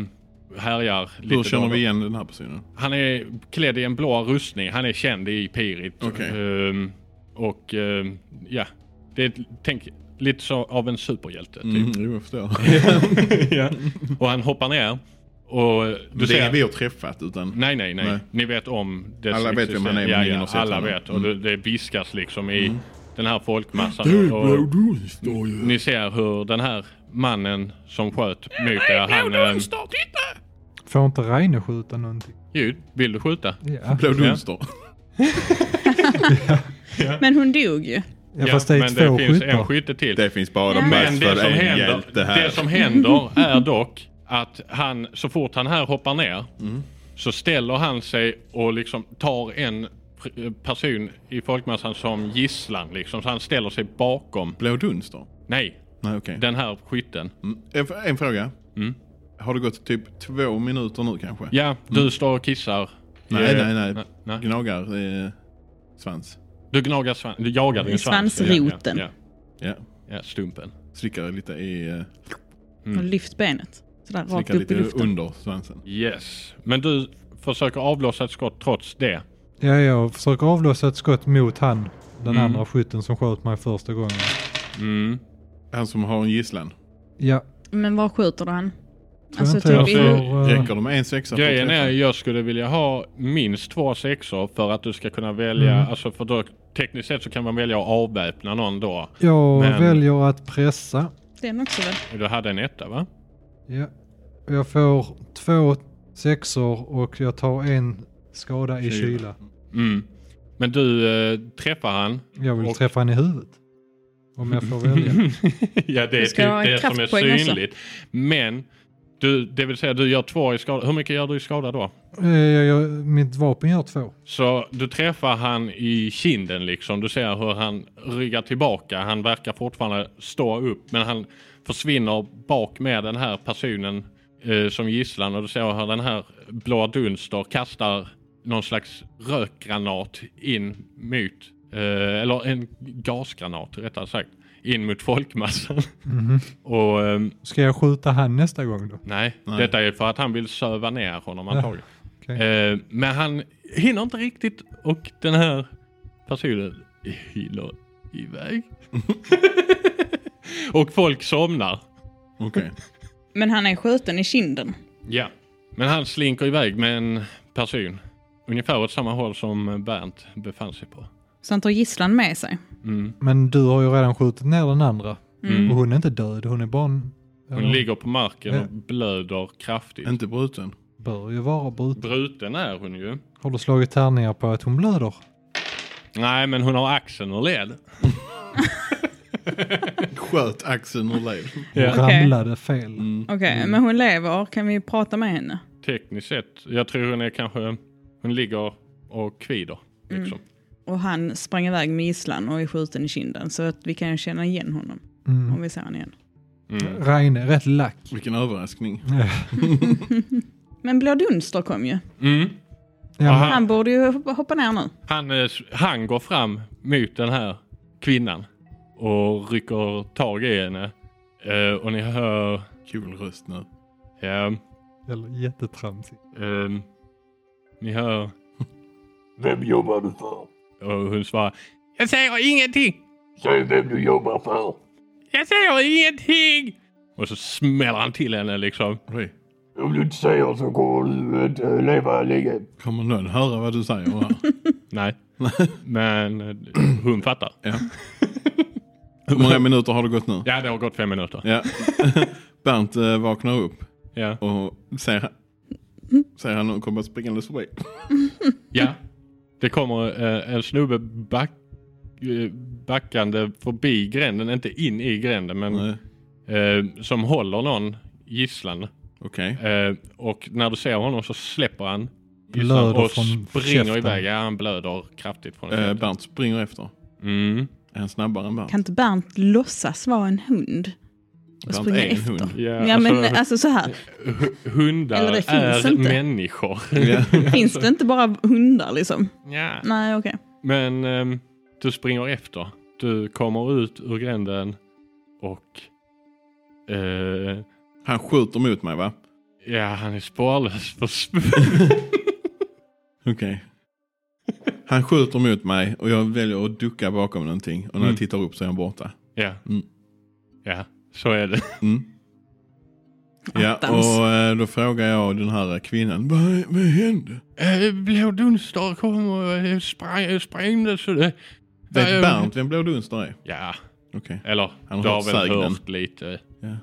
S1: härjar lite Mm.
S2: Hur känner
S1: då och
S2: vi
S1: då.
S2: igen den här personen?
S1: Han är klädd i en blå rustning. Han är känd i Pirit.
S2: Okej.
S1: Ehm, och ehm, ja, det är, ett- tänk lite så av en superhjälte. Typ.
S2: Mm, jo, jag förstår.
S1: Och han hoppar ner. Och du
S2: Men det är
S1: ser...
S2: ingen vi har träffat utan...
S1: Nej, nej, nej,
S2: Nej.
S1: Ni vet om dess
S2: Alla vet vem han är, men
S1: existens. ja,
S2: ingen har
S1: ja,
S2: sett
S1: Alla
S2: honom.
S1: vet. Och
S2: Mm.
S1: det, det viskas liksom i den här folkmassan.
S2: Det är
S1: och,
S2: Blå Dunster ju.
S1: Ni ser hur den här mannen som sköt mot er, han... ehm,
S4: Får inte Reine skjuta någonting?
S1: Ljud, vill du skjuta?
S4: Ja,
S2: Blå Dunster.
S3: Men hon dog ju.
S4: ja fast det är
S1: men
S4: två
S1: det finns en
S4: skyttar.
S1: skytte till.
S2: Det finns bara
S3: Ja.
S1: Men
S2: plats
S1: det
S2: för
S1: som,
S2: en
S1: händer,
S2: hjälte här.
S1: det som händer är dock att han, så fort han här hoppar ner,
S2: Mm.
S1: så ställer han sig och liksom tar en pr- person i folkmassan som gisslan liksom. Så han ställer sig bakom,
S2: Blå Dunster?
S1: nej,
S2: Nej okej.
S1: den här skytten.
S2: Mm. En, f- en fråga. Har det gått typ två minuter nu kanske?
S1: Ja, du står och kissar.
S2: Mm. Nej,
S1: Eh,
S2: nej, nej.
S1: nej.
S2: Gnagar eh, svans.
S1: Du gnagar svans, du jagar din
S3: I
S1: svans.
S3: svansroten.
S1: Ja,
S2: Ja.
S1: ja, ja, stumpen.
S2: Slickar lite i... Eh,
S3: Hon lyft benet. Sådär rakt
S2: slickar
S3: upp
S2: lite
S3: i luften.
S2: under svansen.
S1: Yes, men du försöker avlossa ett skott trots det.
S4: Ja, jag försöker avlossa ett skott mot han. Den andra skytten som sköt mig första gången.
S1: Mm.
S2: Han som har en gisslan.
S4: Ja,
S3: Men var skjuter han?
S4: tror
S3: Alltså
S4: inte jag
S3: typ i...
S1: Alltså-
S4: får... eh,
S2: Räcker det med en sexa för att
S1: Grejen är,
S2: träffa?
S1: jag skulle vilja ha minst två sexor för att du ska kunna välja,
S4: Mm.
S1: alltså för då tekniskt sett så kan man välja att avväpna någon då.
S4: Jag
S1: Men-
S4: väljer att pressa.
S3: Den också väl?
S1: Du hade en etta va?
S4: Ja. Jag får två sexor och jag tar en skada i
S1: Kyla.
S4: kyla.
S1: Mm. Men du eh, träffar han.
S4: Jag vill
S1: Och-
S4: träffa henne i huvudet. Om jag får välja.
S1: ja, det är
S5: Det
S1: typ
S5: ska vara en
S1: det som är
S5: kraftpoäng också.
S1: synligt. Men, du, det vill säga du gör två i skada. Hur mycket gör du i skada då?
S4: Eh, jag, jag, mitt vapen gör två.
S1: Så du träffar han i kinden liksom. Du ser hur han ryggar tillbaka. Han verkar fortfarande stå upp men han försvinner bak med den här personen eh, som gisslan och du ser hur den här blåa dunster kastar någon slags rökgranat in mot, eh, eller en gasgranat rättare sagt, in mot folkmassan. Och ehm,
S4: Ska jag skjuta han nästa gång då?
S1: Nej,
S2: Nej.
S1: detta är för att han vill söva ner honom
S4: Ja,
S1: antagligen.
S4: okej.
S1: Eh, men han hinner inte riktigt och den här personen hinner iväg. och folk somnar.
S2: Okej.
S5: Men han är skjuten i kinden.
S1: Ja. Men han slinker iväg med en person. Ungefär åt samma håll som Bernt befann sig på.
S5: Så han tar gisslan med sig.
S1: Mm.
S4: Men du har ju redan skjutit ner den andra.
S1: Mm.
S4: Och hon är inte död, hon är bara en...
S1: Hon
S4: eller
S1: ligger på marken
S4: Ja.
S1: och blöder kraftigt.
S2: Inte bruten.
S4: Bör ju vara bruten.
S1: Bruten är hon ju.
S4: Har du slagit tärningar på att hon blöder?
S1: Nej, men hon har axeln ur led.
S2: Sköt axeln ur led.
S1: Ja.
S4: Hon
S5: Okej.
S4: ramlade fel.
S1: Mm.
S2: Mm.
S5: Okej, men hon lever. Kan vi prata med henne?
S1: tekniskt sett. Jag tror hon är kanske, hon ligger och kvider. Liksom.
S5: Och han sprang iväg med gisslan och är skjuten i kinden. Så att vi kan känna igen honom om vi ser honom igen.
S1: Mm.
S4: Reine, rätt lack.
S2: Vilken överraskning.
S5: Men Blå Dunster kom ju.
S1: Mm.
S4: Ja,
S1: Aha.
S4: men-
S5: Han borde ju hoppa hoppa ner nu.
S1: Han, eh, s- han går fram mot den här kvinnan och rycker tag i henne. Eh, och ni hör,
S2: Kul röst nu.
S1: ja,
S4: eller jättetramsigt.
S1: ehm, ni hör,
S6: Vem jobbar du för?
S1: och hon svarar Jag säger ingenting!
S6: Säg vem du jobbar för.
S1: Jag säger ingenting! Och så smäller han till henne liksom.
S2: Oj.
S6: Om du inte säger så kommer du inte leva länge.
S2: Kommer någon höra vad du säger? här?
S1: Nej. Men eh, hon fattar.
S2: ja. Hur många minuter har det gått nu?
S1: Ja, det har gått fem minuter.
S2: Ja. Bernt eh, vaknar upp
S1: Ja.
S2: och ser,
S5: Mm.
S2: ser han någon komma springandes förbi.
S1: Ja. Det kommer eh, en snubbe back, eh, backande förbi gränden, inte in i gränden, men
S2: Nej.
S1: eh, som håller någon gisslan.
S2: Okej.
S1: Eh, och när du ser honom så släpper han gisslan
S4: Blöder
S1: och
S4: från
S1: springer
S4: käften.
S1: iväg. Ja, han blöder kraftigt från
S2: Eh,
S1: käften.
S2: Bernt springer efter.
S1: Mm.
S2: Är han snabbare än Bernt?
S5: Kan inte Bernt låtsas vara en hund? Och
S2: Bernt
S5: springa
S2: är en
S5: efter.
S2: hund.
S1: Ja,
S5: Ja, men
S1: alltså,
S5: alltså så här.
S1: hu- hundar
S5: Eller det finns
S1: är
S5: inte.
S1: människor.
S2: Ja.
S5: Finns det inte bara hundar liksom?
S1: Ja.
S5: Nej, okej.
S1: Men ehm, du springer efter. Du kommer ut ur gränden och eh,
S2: Han skjuter mot mig va?
S1: Ja, han är spårlös för sp
S2: Okej. Han skjuter mot mig och jag väljer att ducka bakom någonting. Och när
S1: Mm.
S2: jag tittar upp så är han borta.
S1: Ja.
S2: Mm.
S1: Ja, så är det.
S2: Mm. Ja,
S5: Attans.
S2: och eh, då frågar jag den här kvinnan. Vad, vad hände?
S1: Eh, Blå Dunster kom och eh, sprang, sprängde så det...
S2: Vet Bernt vem Blå Dunster är?
S1: Ja,
S2: Okej.
S1: eller
S2: Han har
S1: du har
S2: hört
S1: väl
S2: sägnen.
S1: hört lite.
S2: Ja.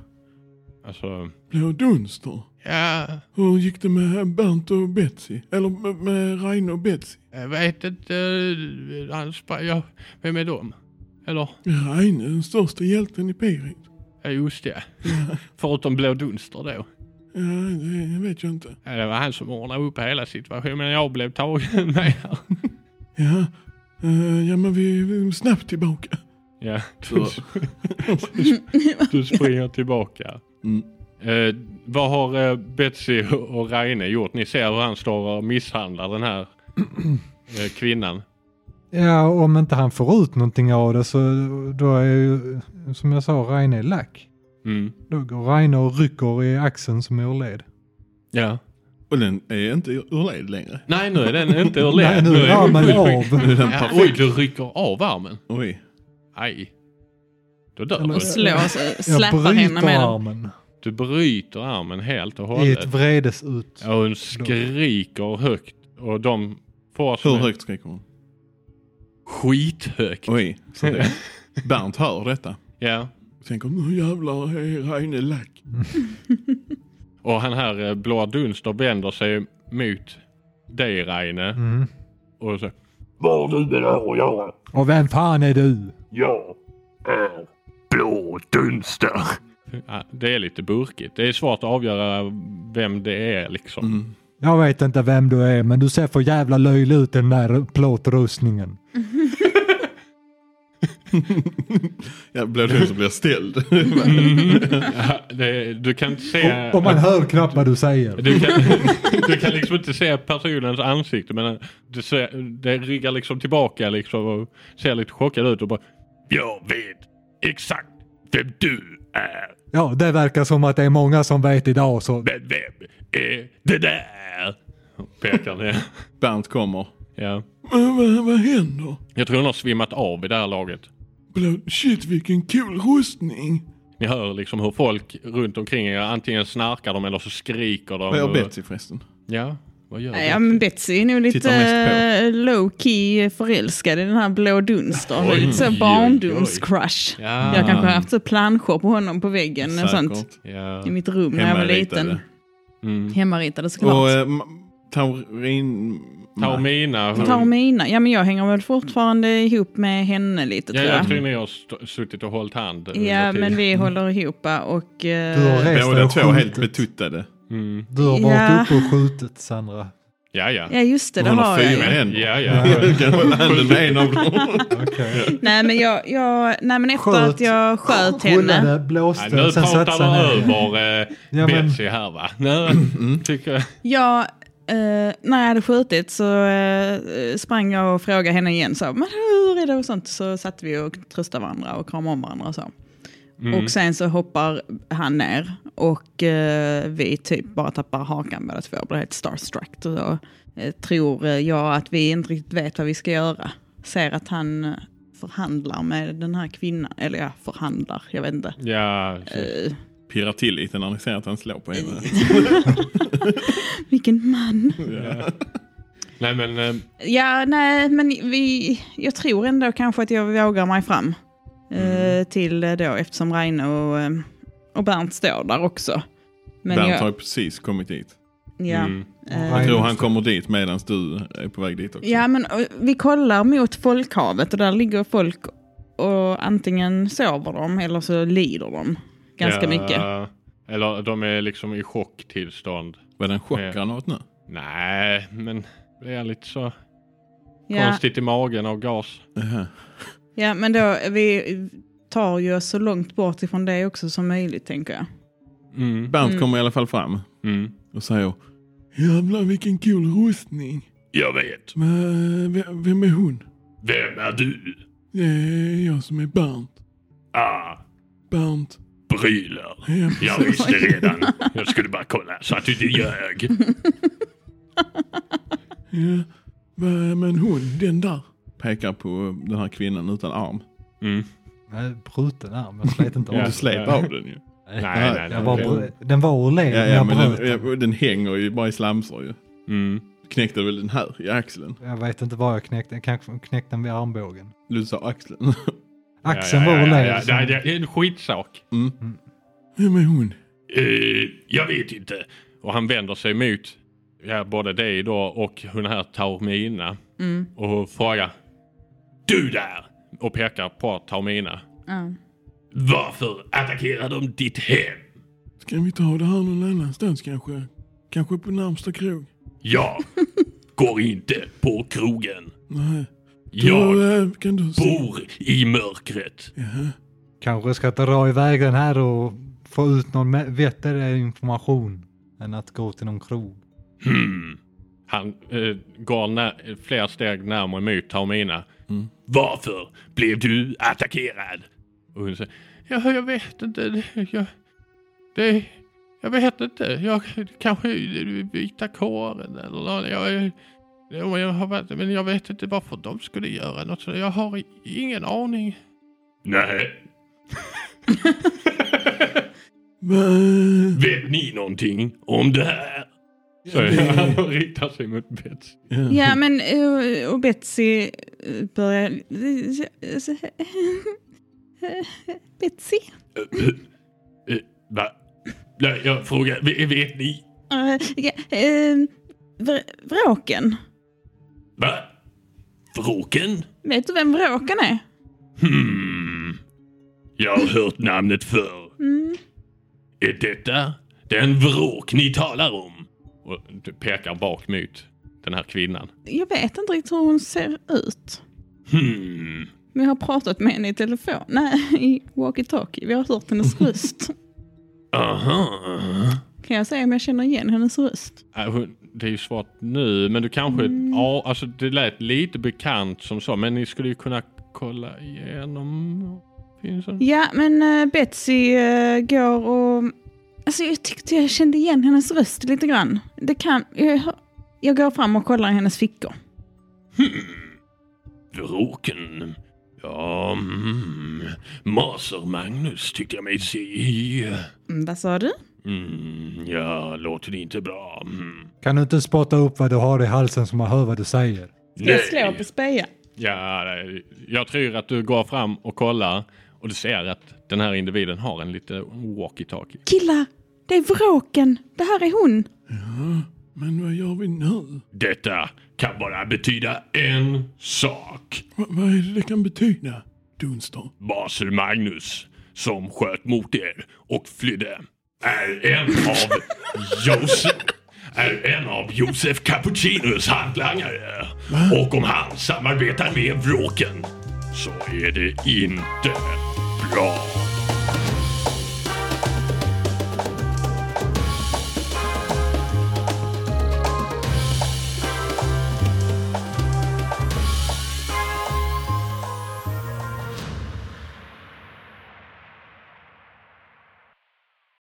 S1: Alltså,
S2: Blå Dunster?
S1: ja,
S2: Hur gick det med Bernt och Betsy? Eller med, med Reine och Betsy?
S1: jag vet inte. eh, Han sprang, ja, vem är de? Eller,
S2: Reine, den största hjälten i Pirit.
S1: ja just det. Förutom Blå Dunster då.
S2: Ja, det vet jag inte.
S1: Ja, det var han som ordnade upp hela situationen. Jag blev tagen med här.
S2: Ja, eh, ja men vi, vi är snabbt tillbaka.
S1: Ja, du,
S2: Så-
S1: du springer tillbaka.
S2: Mm.
S1: Eh, vad har eh, Betsy och Reine gjort? Ni ser hur han står och misshandlar den här eh, kvinnan.
S4: Ja, om inte han får ut någonting av det så då är ju, som jag sa, Reine lack.
S1: Mm.
S4: Då går Reine och rycker i axeln som är ur led.
S1: Ja.
S2: Och den är inte ur led längre.
S1: Nej, nu är den inte ur led.
S4: Nej, nu
S1: är
S4: är
S1: den
S4: man
S1: full-
S4: av.
S2: Nu är den
S1: Ja, oj,
S2: perfekt.
S1: du rycker av armen.
S2: Oj.
S1: Aj. Då dör
S4: Eller-
S5: Och
S1: du.
S5: slår, så släpar
S4: Jag
S5: henne
S4: bryter
S5: med den.
S4: armen
S1: Du bryter armen helt och
S4: i
S1: hållet.
S4: ett vredesut.
S1: Ja, hon skriker högt och de får som
S2: Hur
S1: är
S2: högt skriker hon?
S1: skithögt.
S2: Oj. Så det. Bernt hör detta.
S1: Ja.
S2: Tänker nu jävlar är Reine lack.
S1: Och han här eh, blåa Dunster vänder sig mot dig Reine.
S4: Mm.
S1: Och så,
S6: Vad har du med det här att göra?
S4: Och vem fan är du?
S6: Jag är Blå Dunster.
S1: ja, det är lite burkigt. Det är svårt att avgöra vem det är liksom.
S2: Mm.
S4: Jag vet inte vem du är, men du ser för jävla löjlig ut i den där plåtrustningen.
S2: ja, blir du som blir ställd?
S1: Ja, det, du kan inte se...
S4: Och, och man hör knappt vad du säger.
S1: Du kan, du kan liksom inte se personens ansikte men eh, det, ser, det ryggar liksom tillbaka liksom och ser lite chockad ut och bara Jag vet exakt vem du är.
S4: Ja, det verkar som att det är många som vet idag så...
S1: Men "Eh, vem är det där? Och Pekar ner.
S2: Bernt kommer.
S1: Ja.
S2: Men vad, vad händer?
S1: Jag tror hon har svimmat av i det här laget.
S2: Blå- Shit vilken cool rustning.
S1: Ni hör liksom hur folk runt omkring er antingen snarkar de eller så skriker de.
S2: Vad gör
S1: Och-
S2: Betsy förresten?
S1: Ja, vad gör
S3: Ja
S1: Betty?
S3: men Betsy är nog lite
S2: Tittar mest
S3: eh, low-key förälskad i den här blå dunster.
S1: Oj,
S3: Lite så
S1: oj, oj.
S3: barndomscrush.
S1: Ja.
S3: Jag kanske har haft så planshow på honom på väggen och sånt.
S2: Säkert.
S1: Ja.
S3: I mitt rum när jag var liten.
S2: Hemmaritade.
S1: Mm.
S3: Hemmaritade såklart.
S2: Och eh, ma- Taurin...
S1: Taormina. hon-
S3: Taormina, ja men jag hänger väl fortfarande ihop med henne
S1: Ja,
S3: lite tror
S1: jag
S3: jag.
S1: tror ni har st- suttit och hållit hand. under
S3: Ja
S1: tid.
S3: men vi håller ihop eh, och...
S4: Du har
S3: eh,
S4: rest dig
S2: Båda
S4: och
S2: två helt
S4: skjutit.
S2: betuttade.
S1: Mm.
S4: Du har
S3: Ja.
S4: varit uppe och skjutit Sandra.
S1: Ja, ja.
S3: Ja just det, det
S2: Hon har
S3: har jag
S2: fyra
S3: ju.
S2: händer.
S1: Ja, ja.
S2: Jag kan hålla handen med en av dem.
S4: Okej.
S3: Nej men jag, jag, nej men efter
S4: Sköt.
S3: att jag sköt henne.
S4: Rullade,
S1: Ja,
S4: blåste,
S1: nu
S4: sen
S1: pratar
S4: satsade
S1: du
S4: ner.
S1: över eh,
S4: Ja, men- Mm,
S1: Betsy här va? Nu tycker jag.
S3: Jag, eh, när jag hade skjutit så eh, sprang jag och frågade henne igen så, men hur är det och sånt. Så satt vi och tröstade varandra och kramade om varandra och så. Och sen så hoppar han ner och eh, vi typ bara tappar hakan båda två och blir helt starstruck. Och då eh, tror jag att vi inte riktigt vet vad vi ska göra. Ser att han eh, förhandlar med den här kvinnan, eller ja, förhandlar, jag vet inte.
S1: Ja, precis.
S3: Eh,
S2: Pirrar till lite när ni ser att han slår på henne.
S3: vilken man!
S1: Nej men eh,
S3: Ja, nej, men vi, jag tror ändå kanske att jag vågar mig fram.
S2: Mm.
S3: Eh, till eh, då, eftersom Reine och, eh, och Bernt står där också. Men
S2: Bernt
S3: jag,
S2: har ju precis kommit hit.
S3: ja,
S1: mm.
S3: eh,
S2: Jag
S4: Nej,
S2: tror
S4: just
S2: han
S4: det.
S2: kommer dit medan du är på väg dit också.
S3: ja, men eh, vi kollar mot folkhavet och där ligger folk och antingen sover de eller så lider de ganska
S1: ja,
S3: mycket.
S1: Eller de är liksom i chocktillstånd.
S2: Var det en chock
S1: Ja.
S2: han åt nu?
S1: Nej, men det är lite så
S3: Ja,
S1: konstigt i magen av gas.
S2: Jaha.
S3: ja, men då, vi tar ju oss så långt bort ifrån det också som möjligt tänker jag.
S1: Mm.
S2: Bernt
S3: Mm.
S2: kommer i alla fall fram
S1: Mm.
S2: och säger Jävlar vilken cool rustning.
S6: Jag vet.
S2: Men ve- vem är hon?
S6: Vem är du?
S2: Det är jag som är Bernt.
S6: Ah,
S2: Bernt.
S6: Bryler.
S2: Ja,
S6: Jag
S2: precis.
S6: visste redan. Jag skulle bara kolla så att du inte ljög.
S2: Ja. Va- Men hon, den där. Pekar på den här kvinnan utan arm.
S1: Mm.
S4: Nej, bruten arm. Jag slet inte av
S1: Ja.
S2: Du slet av den ju.
S4: Nej,
S1: nej, nej,
S4: jag
S1: nej.
S4: var br- Den var ur led,
S2: Ja,
S4: men
S2: ja,
S4: jag
S2: men
S4: bröt
S2: den,
S4: den.
S2: ja, den hänger ju bara i slamsor ju.
S1: Mm.
S2: Knäckte väl den här i axeln?
S4: Jag vet inte var jag knäckte den. Kanske knäckte den vid armbågen.
S2: Du sa axeln.
S4: Axeln
S1: ja,
S4: var
S1: ja,
S4: ur
S1: ja,
S4: led.
S1: ja,
S4: så-
S1: ja, ja, Det är en skitsak.
S2: Vem är hon?
S6: Eh, jag vet inte.
S1: Och han vänder sig mot ja, både dig då och hon här Taormina. Och frågar
S6: Du där!
S1: och pekar på Taormina.
S3: Ja.
S6: Varför attackerar de ditt hem?
S2: Ska vi ta det här någon annanstans kanske? Kanske på närmsta krog?
S6: Jag går inte på krogen.
S2: Nej.
S6: Jag
S2: Då, eh, kan du se?
S6: bor i mörkret.
S4: Kanske ska dra iväg den här och få ut någon me- vettigare information än att gå till någon krog.
S1: Han eh, går nä- flera steg närmare mot Taormina. Mm.
S6: Varför blev du attackerad?
S1: Och hon säger, ja, jag vet inte. Det- Jag, det, jag vet inte. Jag kanske eh, vita kåren eller någon. Jag, jag, jag har, varit- men jag vet inte varför de skulle göra något sånt. Jag har ingen aning.
S6: Nej.
S2: Va-
S6: Vet ni någonting om det här?
S1: Så han riktar sig mot Betsy.
S3: Ja, men eh, och Betsy eh, börjar... Betsy?
S6: Eh, va?
S1: Nej, jag frågar, v- vet ni?
S3: Eh, eh, eh, vr- vråken.
S1: Va? Vråken?
S3: Vet du vem vråken är?
S1: Hmm. Jag har hört namnet förr. Är detta den vråk ni talar om? Och du pekar bak mot den här kvinnan.
S3: Jag vet inte riktigt hur hon ser ut.
S1: Hmm.
S3: Men jag har pratat med henne i telefon. Nej, i walkie-talkie. Vi har hört hennes röst.
S1: Aha.
S3: Kan jag säga om jag känner igen hennes röst?
S1: Äh, hon- Det är ju svårt nu, men du kanske... Ja, alltså det lät lite bekant som så, men ni skulle ju kunna kolla igenom... Finns en...
S3: Ja, men eh, Betsy eh, går och... Alltså jag tyckte jag kände igen hennes röst lite grann. Det kan... Jag, hör- jag går fram och kollar i hennes fickor.
S1: Vråken. Ja, mm. Maser Magnus tyckte jag mig se i.
S3: Mm, vad sa du?
S1: Mm, ja, låter det inte bra. Mm.
S4: Kan du inte spotta upp vad du har i halsen så man hör vad du säger?
S3: Ska jag slå på speja?
S1: Ja, nej, jag tror att du går fram och kollar och du ser att den här individen har en lite walkie-talkie.
S3: Killar! Det är vråken! Det här är hon!
S2: Men vad gör vi nu?
S1: Detta kan bara betyda en sak.
S2: Va, vad är det det kan betyda? Dunstar.
S1: Basel Magnus, som sköt mot er och flydde, är en av Josef är en av Josef Cappuccinos handlangare. Och om han samarbetar med Vråken så är det inte bra.